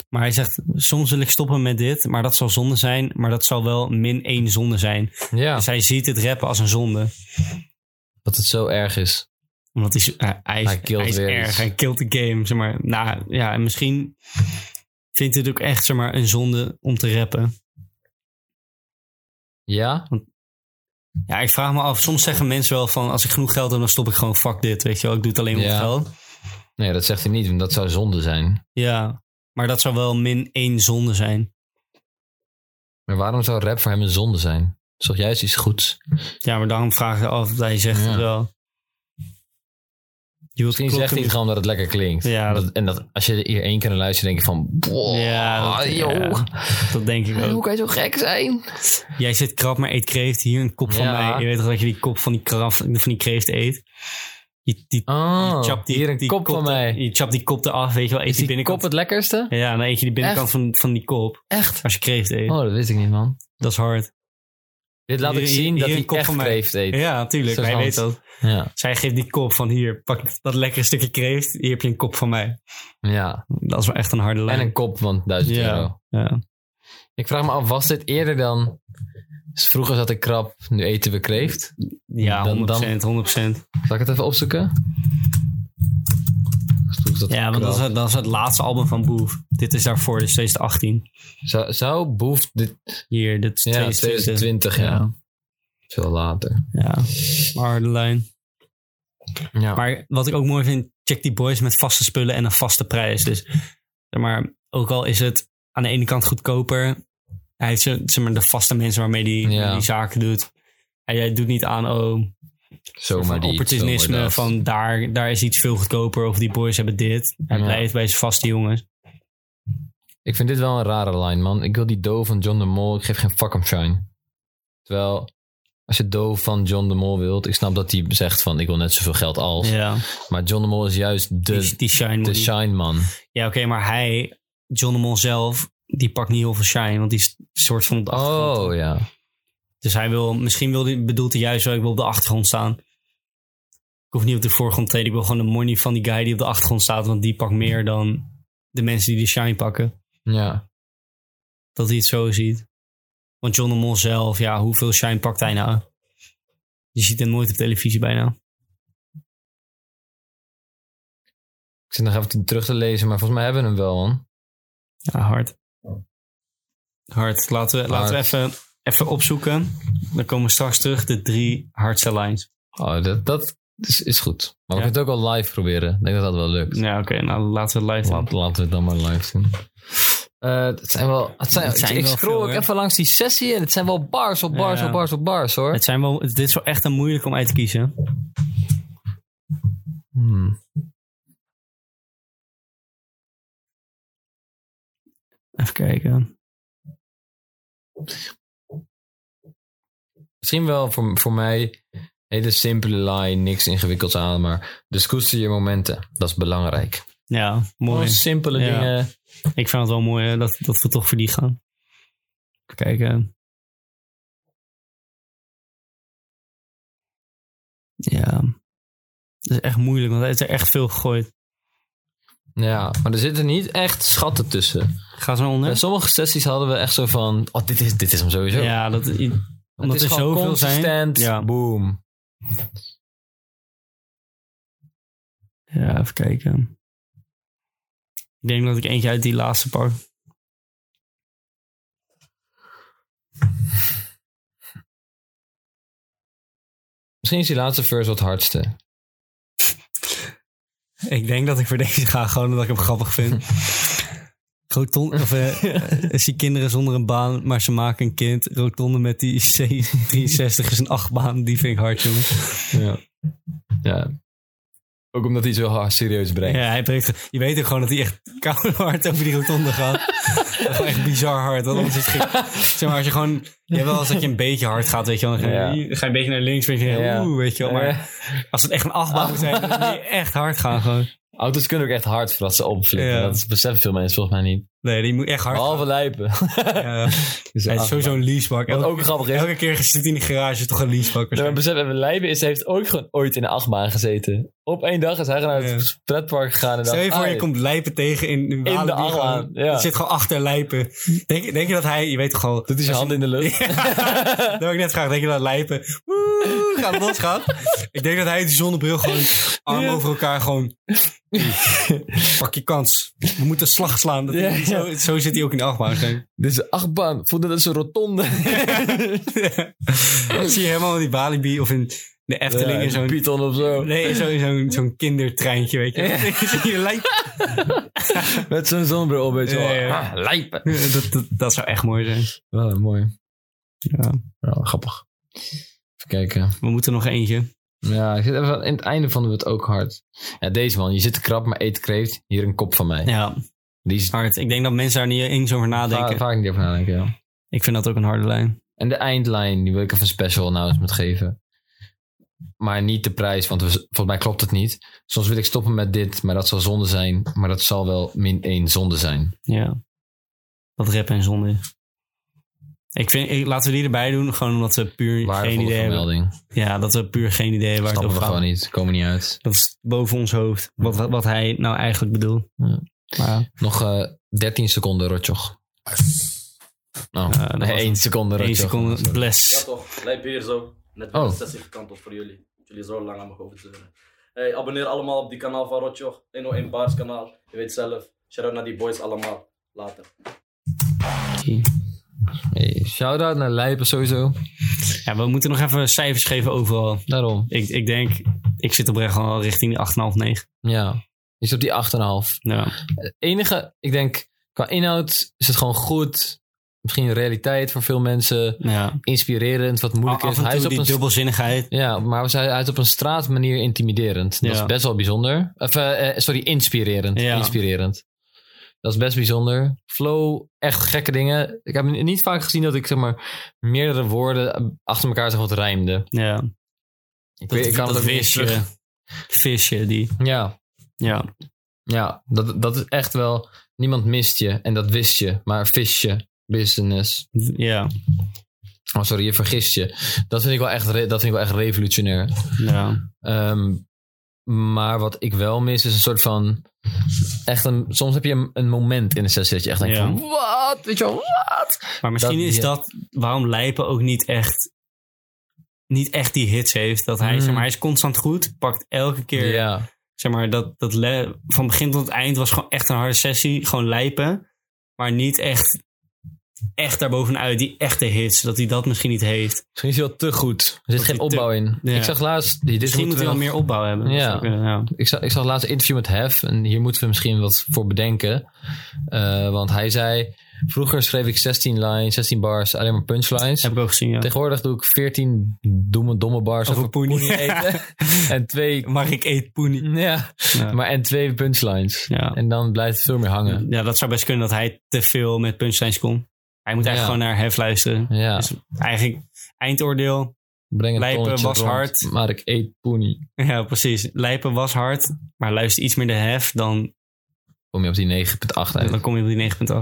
S1: Maar hij zegt, soms wil ik stoppen met dit, maar dat zal zonde zijn. Maar dat zal wel min één zonde zijn.
S2: Ja.
S1: Dus hij ziet het rappen als een zonde.
S2: Dat het zo erg is.
S1: Omdat hij, zo- eh, hij, hij is,
S2: Hij killt
S1: hij is
S2: weer
S1: erg.
S2: iets.
S1: Hij killt de game, zeg maar. Nou ja, en misschien vindt hij het ook echt zeg maar, een zonde om te rappen.
S2: Ja?
S1: Ja, ik vraag me af. Soms zeggen mensen wel van, als ik genoeg geld heb, dan stop ik gewoon fuck dit. Weet je wel, ik doe het alleen om
S2: Ja.
S1: het geld.
S2: Nee, dat zegt hij niet, want dat zou zonde zijn.
S1: Ja, maar dat zou wel min één zonde zijn.
S2: Maar waarom zou rap voor hem een zonde zijn? Het is toch juist iets goeds?
S1: Ja, maar daarom vraag ik af. Hij zegt
S2: Ja.
S1: het wel. Je wilt
S2: Misschien
S1: klokken
S2: zegt hij het gewoon omdat het lekker klinkt.
S1: Ja,
S2: Dat- en dat, als je hier één keer naar luistert, denk je van... Boah,
S1: Ja, dat-
S2: joh.
S1: ja. Dat denk ik
S2: Hoe
S1: ook.
S2: kan je zo gek zijn?
S1: Jij zit krap, maar eet kreeft. Hier een kop van
S2: Ja.
S1: mij. Je weet toch dat je die kop van die, kraf, van die kreeft eet? Die, die,
S2: Oh,
S1: je chapt die,
S2: hier een
S1: die
S2: kop van
S1: er-
S2: mij.
S1: Je chapt die kop eraf, weet je wel. Eet
S2: Is die kop
S1: die binnenkant.
S2: het lekkerste?
S1: Ja, dan eet je die binnenkant
S2: Echt?
S1: van, van die kop.
S2: Echt?
S1: Als je kreeft eet.
S2: Oh, dat wist ik niet, man.
S1: Dat is hard.
S2: Dit laat
S1: Hier-
S2: ik
S1: hier-
S2: zien dat
S1: hier
S2: hij
S1: een kop
S2: echt
S1: van mij.
S2: kreeft eet.
S1: Ja, natuurlijk.
S2: Zo
S1: Hij
S2: hand.
S1: weet dat.
S2: Ja.
S1: Zij geeft die kop van hier, pak dat lekkere stukje kreeft. Hier heb je een kop van mij.
S2: ja.
S1: Dat is wel echt een harde lijn.
S2: En een kop van 1000
S1: Ja.
S2: euro.
S1: Ja.
S2: Ik vraag me af, was dit eerder dan... Dus vroeger zat ik krap, nu eten we kreeft.
S1: Ja,
S2: Dan-
S1: 100%,
S2: dan-
S1: 100%.
S2: Zal ik het even opzoeken? Dus toen zat
S1: Ja, want
S2: krap.
S1: dat is, het- dat is het laatste album van Boef. Dit is daarvoor, dus dit is 2018.
S2: Zou, zou Boef... Dit,
S1: Hier, dit is
S2: ja,
S1: 2020.
S2: 2020, ja. Veel later.
S1: Ja, harde lijn.
S2: Ja.
S1: Maar wat ik ook mooi vind, check die boys met vaste spullen en een vaste prijs. Dus zeg maar, ook al is het aan de ene kant goedkoper, hij heeft zeg zeg maar, de vaste mensen waarmee hij
S2: Ja.
S1: die zaken doet. Hij, hij doet niet aan, oh,
S2: zomaar
S1: van
S2: die,
S1: opportunisme,
S2: zomaar dat.
S1: van daar, daar is iets veel goedkoper of die boys hebben dit. Hij
S2: Ja.
S1: blijft bij zijn vaste jongens.
S2: Ik vind dit wel een rare line, man. Ik wil die doe van John de Mol. Ik geef geen fuck om shine. Terwijl, als je doe van John de Mol wilt... Ik snap dat hij zegt van, ik wil net zoveel geld als.
S1: Ja,
S2: Maar John de Mol is juist
S1: die,
S2: de,
S1: die shine.
S2: de
S1: moet-
S2: shine man.
S1: Ja, oké, maar hij, John de Mol zelf, die pakt niet heel veel shine, want die is een soort van op de achtergrond.
S2: Oh, ja.
S1: Dus hij wil, misschien wil hij, bedoelt hij juist wel, ik wil op de achtergrond staan. Ik hoef niet op de voorgrond te treden. Ik wil gewoon de money van die guy die op de achtergrond staat, want die pakt meer dan de mensen die de shine pakken.
S2: Ja.
S1: Dat hij het zo ziet. Want John de Mol zelf, ja, hoeveel shine pakt hij nou? Je ziet hem nooit op televisie bijna.
S2: Ik zit nog even te- terug te lezen, maar volgens mij hebben we hem wel, man.
S1: Ja, hard. Hard. Laten we, Laten we
S2: Hard.
S1: even, even opzoeken. Dan komen we straks terug de drie hardste lines.
S2: Oh, dat, dat is, is goed. Maar we
S1: Ja.
S2: kunnen het ook wel live proberen. Ik denk dat dat wel lukt.
S1: Ja, oké. nou, laten we het live doen.
S2: Laat, laten we het dan maar live zien. Eh, het zijn wel, het zijn,
S1: Het zijn
S2: ik, ik
S1: wel
S2: scroll
S1: veel,
S2: ook
S1: hoor.
S2: even langs die sessie en het zijn wel bars op bars
S1: Ja.
S2: op bars op bars hoor.
S1: Het zijn wel, dit is wel echt een moeilijk om uit te kiezen.
S2: Hmm.
S1: Even kijken.
S2: Misschien wel voor, voor mij hele simpele line, niks ingewikkelds aan, maar dus koester je momenten. Dat is belangrijk.
S1: Ja, mooi.
S2: Gewoon simpele
S1: Ja.
S2: dingen.
S1: Ik vind het wel mooi hè, dat, dat we toch voor die gaan. Even kijken. Ja. Het is echt moeilijk, want hij heeft er echt veel gegooid.
S2: Ja, maar er zitten niet echt schatten tussen.
S1: Ga zo
S2: Bij
S1: onder.
S2: sommige sessies hadden we echt zo van, oh dit is, dit is hem sowieso.
S1: Ja, dat, omdat
S2: het
S1: er
S2: is gewoon
S1: zoveel zijn.
S2: consistent,
S1: Ja.
S2: boom.
S1: ja, even kijken. Ik denk dat ik eentje uit die laatste pak.
S2: Misschien is die laatste verse wat hardste.
S1: Ik denk dat ik voor deze ga, gewoon omdat ik hem
S2: [laughs]
S1: grappig vind. Roton, of eh, ik zie kinderen zonder een baan, maar ze maken een kind. Rotonde met die C63 is een achtbaan, die vind ik hard, jongen.
S2: Ja. ja. Ook omdat hij zo hard serieus brengt.
S1: Ja, hij breekt, je weet ook gewoon dat hij echt koud hard over die
S2: [laughs]
S1: rotonde gaat. gewoon echt bizar hard. Want anders is het geen- zeg maar, als je gewoon... Je hebt wel eens dat je een beetje hard gaat, weet je wel. Dan ga je, ga je een beetje naar links, weet je,
S2: Ja.
S1: oeh, weet je wel. Maar als het echt een achtbaan moet zijn, dan moet je echt hard gaan gewoon.
S2: Auto's kunnen ook echt hard voordat ze opflikken.
S1: Ja.
S2: Dat beseffen veel mensen volgens mij niet.
S1: Nee, die moet echt hard gaan.
S2: Behalve lijpen. [laughs]
S1: Ja.
S2: Dus
S1: Hij
S2: ja,
S1: is sowieso een leasebak.
S2: Wat
S1: Elke,
S2: ook grappig is.
S1: elke keer zit hij in de garage, toch een leasebak.
S2: Nee, maar
S1: waarschijnlijk.
S2: besef even, Lijpen is, heeft ook gewoon ooit in de achtbaan gezeten. Op één dag is hij gewoon naar het
S1: Ja.
S2: pretpark gegaan. En
S1: Stel je
S2: dacht,
S1: voor,
S2: ah,
S1: je komt lijpen tegen in, in, Walibi
S2: de achtbaan,
S1: gewoon.
S2: ja.
S1: Het zit gewoon achter lijpen. Denk, denk je dat hij, je weet toch gewoon...
S2: Doet hij zijn hand in de
S1: [laughs]
S2: lucht.
S1: Dat wil ik net graag. Denk je dat Lijpen woe, gaat los gaat? ik denk dat hij die zonnebril gewoon arm
S2: Ja.
S1: over elkaar gewoon... Pak je kans. We moeten slag slaan. Dat
S2: Ja,
S1: hij- Zo, zo zit hij ook in de achtbaan. denk ik.
S2: Dit is een achtbaan. Voelde dat is een
S1: [laughs]
S2: rotonde.
S1: Dat zie je helemaal in die Walibi of in de Efteling in zo'n...
S2: Python of zo.
S1: Nee, in zo- in zo'n zo'n kindertreintje, weet je. Zie [laughs] je Lijpen?
S2: Met zo'n zonnebril op. weet je wel.
S1: Ja, ja.
S2: Ah, Lijpen.
S1: Dat, dat, dat zou echt mooi zijn.
S2: Wel eh, mooi.
S1: Ja.
S2: Wel grappig. Even kijken.
S1: We moeten nog eentje.
S2: Ja, ik zit even, in het einde vonden we het ook hard. Ja, deze man. Je zit te krap, maar eet kreeft. Hier een kop van mij.
S1: Ja,
S2: Die is
S1: hard. Ik denk dat mensen daar niet eens over
S2: va
S1: nadenken.
S2: vaak niet over nadenken. ja.
S1: Ik vind dat ook een harde lijn.
S2: En de eindlijn, die wil ik even een special announcement
S1: Mhm.
S2: geven. Maar niet de prijs, want we, volgens mij klopt het niet. Soms wil ik stoppen met dit, maar dat zal zonde zijn. Maar dat zal wel min 1 zonde zijn.
S1: Ja. Dat rap en zonde is. Ik vind, ik- laten we die erbij doen, gewoon omdat we puur geen
S2: Waardevolle
S1: idee hebben.
S2: vermelding.
S1: Ja, dat we puur geen idee hebben waar het
S2: Stappen we
S1: over
S2: gewoon
S1: gaat.
S2: niet, komen niet uit.
S1: Dat is boven ons hoofd, wat, wat, wat hij nou eigenlijk bedoelt.
S2: Ja.
S1: Maar
S2: Nog eh 13 seconden, Rotjoch. Nou,
S1: Ah. Ja, dat was
S2: 1 seconde,
S1: één
S2: Rotjoch.
S1: seconde, bless.
S7: toch, lijp hier zo. Net
S2: Oh.
S7: 60 kant op voor jullie. Jullie zo lang aan me over te zeuren. Hey, abonneer allemaal op die kanaal van Rotjoch. 101 Baars kanaal. Je weet zelf. Shout-out naar die boys allemaal. Later.
S2: Hey, Shout-out naar Lijpen sowieso.
S1: Ja, we moeten nog even cijfers geven overal.
S2: Daarom.
S1: Ik, ik denk, ik zit oprecht al richting de 8,5, 9.
S2: Ja. Je zit op die 8,5.
S1: Ja.
S2: enige, ik denk, qua inhoud is het gewoon goed. Misschien realiteit voor veel mensen.
S1: ja.
S2: Inspirerend, wat moeilijk
S1: Af
S2: is.
S1: en
S2: Hij is
S1: toe
S2: op
S1: die
S2: een
S1: dubbelzinnigheid.
S2: ja, maar we zijn- hij is op een straatmanier intimiderend. Dat
S1: Ja.
S2: is best wel bijzonder. Of, eh, eh, sorry, inspirerend.
S1: Ja.
S2: Inspirerend. Dat is best bijzonder. Flow, echt gekke dingen. Ik heb niet vaak gezien dat ik zeg maar meerdere woorden achter elkaar zeg wat rijmde.
S1: Ja.
S2: Ik,
S1: Dat,
S2: weet- ik kan
S1: dat
S2: het ook niet eens
S1: visje.
S2: terug.
S1: Visje, die.
S2: Ja,
S1: Ja.
S2: Ja, dat, dat is echt wel. Niemand mist je en dat wist je, maar vis je. Business.
S1: Ja.
S2: Oh, sorry, je vergist je. Dat vind ik wel echt, re- dat vind ik wel echt revolutionair.
S1: Ja.
S2: Ehm, maar wat ik wel mis is een soort van. Echt een, soms heb je een, een moment in de sessie dat je echt denkt:
S1: Ja.
S2: van, wat? Weet je wel, wat?
S1: Maar misschien
S2: Dat-
S1: is
S2: ja.
S1: dat waarom lijpen ook niet echt niet echt die hits heeft. Dat hij,
S2: Mm.
S1: zeg maar, hij is constant goed. Pakt elke keer,
S2: Ja.
S1: zeg maar, dat, dat le- van begin tot het eind was gewoon echt een harde sessie. Gewoon lijpen. Maar niet echt, echt daarbovenuit. Die echte hits, dat hij dat misschien niet heeft.
S2: Misschien is hij wel te goed. Er zit
S1: hij
S2: geen
S1: te-
S2: opbouw in.
S1: Ja. Dus
S2: Ik zag laatst... Dit
S1: Misschien moet
S2: moeten
S1: hij wel
S2: we-
S1: meer opbouw hebben. Dat
S2: Ja.
S1: zou kunnen, ja.
S2: ik zag, ik zag laatst een interview met Hef. En hier moeten we misschien wat voor bedenken. Eh, want hij zei... Vroeger schreef ik 16 lines, 16 bars, alleen maar punchlines.
S1: Heb ik ook gezien, ja.
S2: Tegenwoordig doe ik 14 domme, domme bars
S1: Over
S2: over
S1: poenie. [laughs]
S2: poenie eten. en twee...
S1: Mag ik eet poenie?
S2: Ja,
S1: Ja.
S2: maar en twee punchlines.
S1: Ja.
S2: En dan blijft het veel meer hangen.
S1: ja, dat zou best kunnen dat hij te veel met punchlines komt. Hij moet eigenlijk
S2: Ja.
S1: gewoon naar Hef luisteren.
S2: Ja,
S1: Dus eigenlijk eindoordeel. [laughs]
S2: breng het
S1: Lijpen
S2: tonnetje
S1: was
S2: rond,
S1: hard.
S2: Maar ik eet poenie.
S1: Ja, precies. Lijpen was hard, maar luister iets meer de Hef, dan,
S2: Kom je op die 9,8 uit.
S1: dan kom je op die 9.0.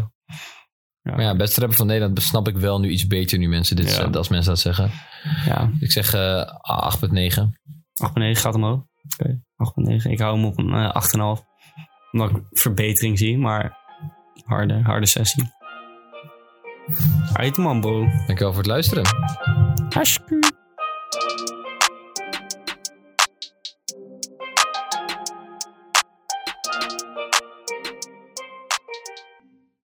S2: Maar ja, beste rapper van Nederland besnap ik wel nu iets beter nu mensen dit
S1: Ja.
S2: zeggen, als mensen dat zeggen.
S1: Ja,
S2: Ik zeg eh 8,9.
S1: 8.9 gaat omhoog. Oké, 8.9. Ik hou hem op een eh, 8.5. Omdat ik verbetering zie, maar harde, harde sessie. Uit man, bro.
S2: Dankjewel voor het luisteren.
S1: Hartstikke.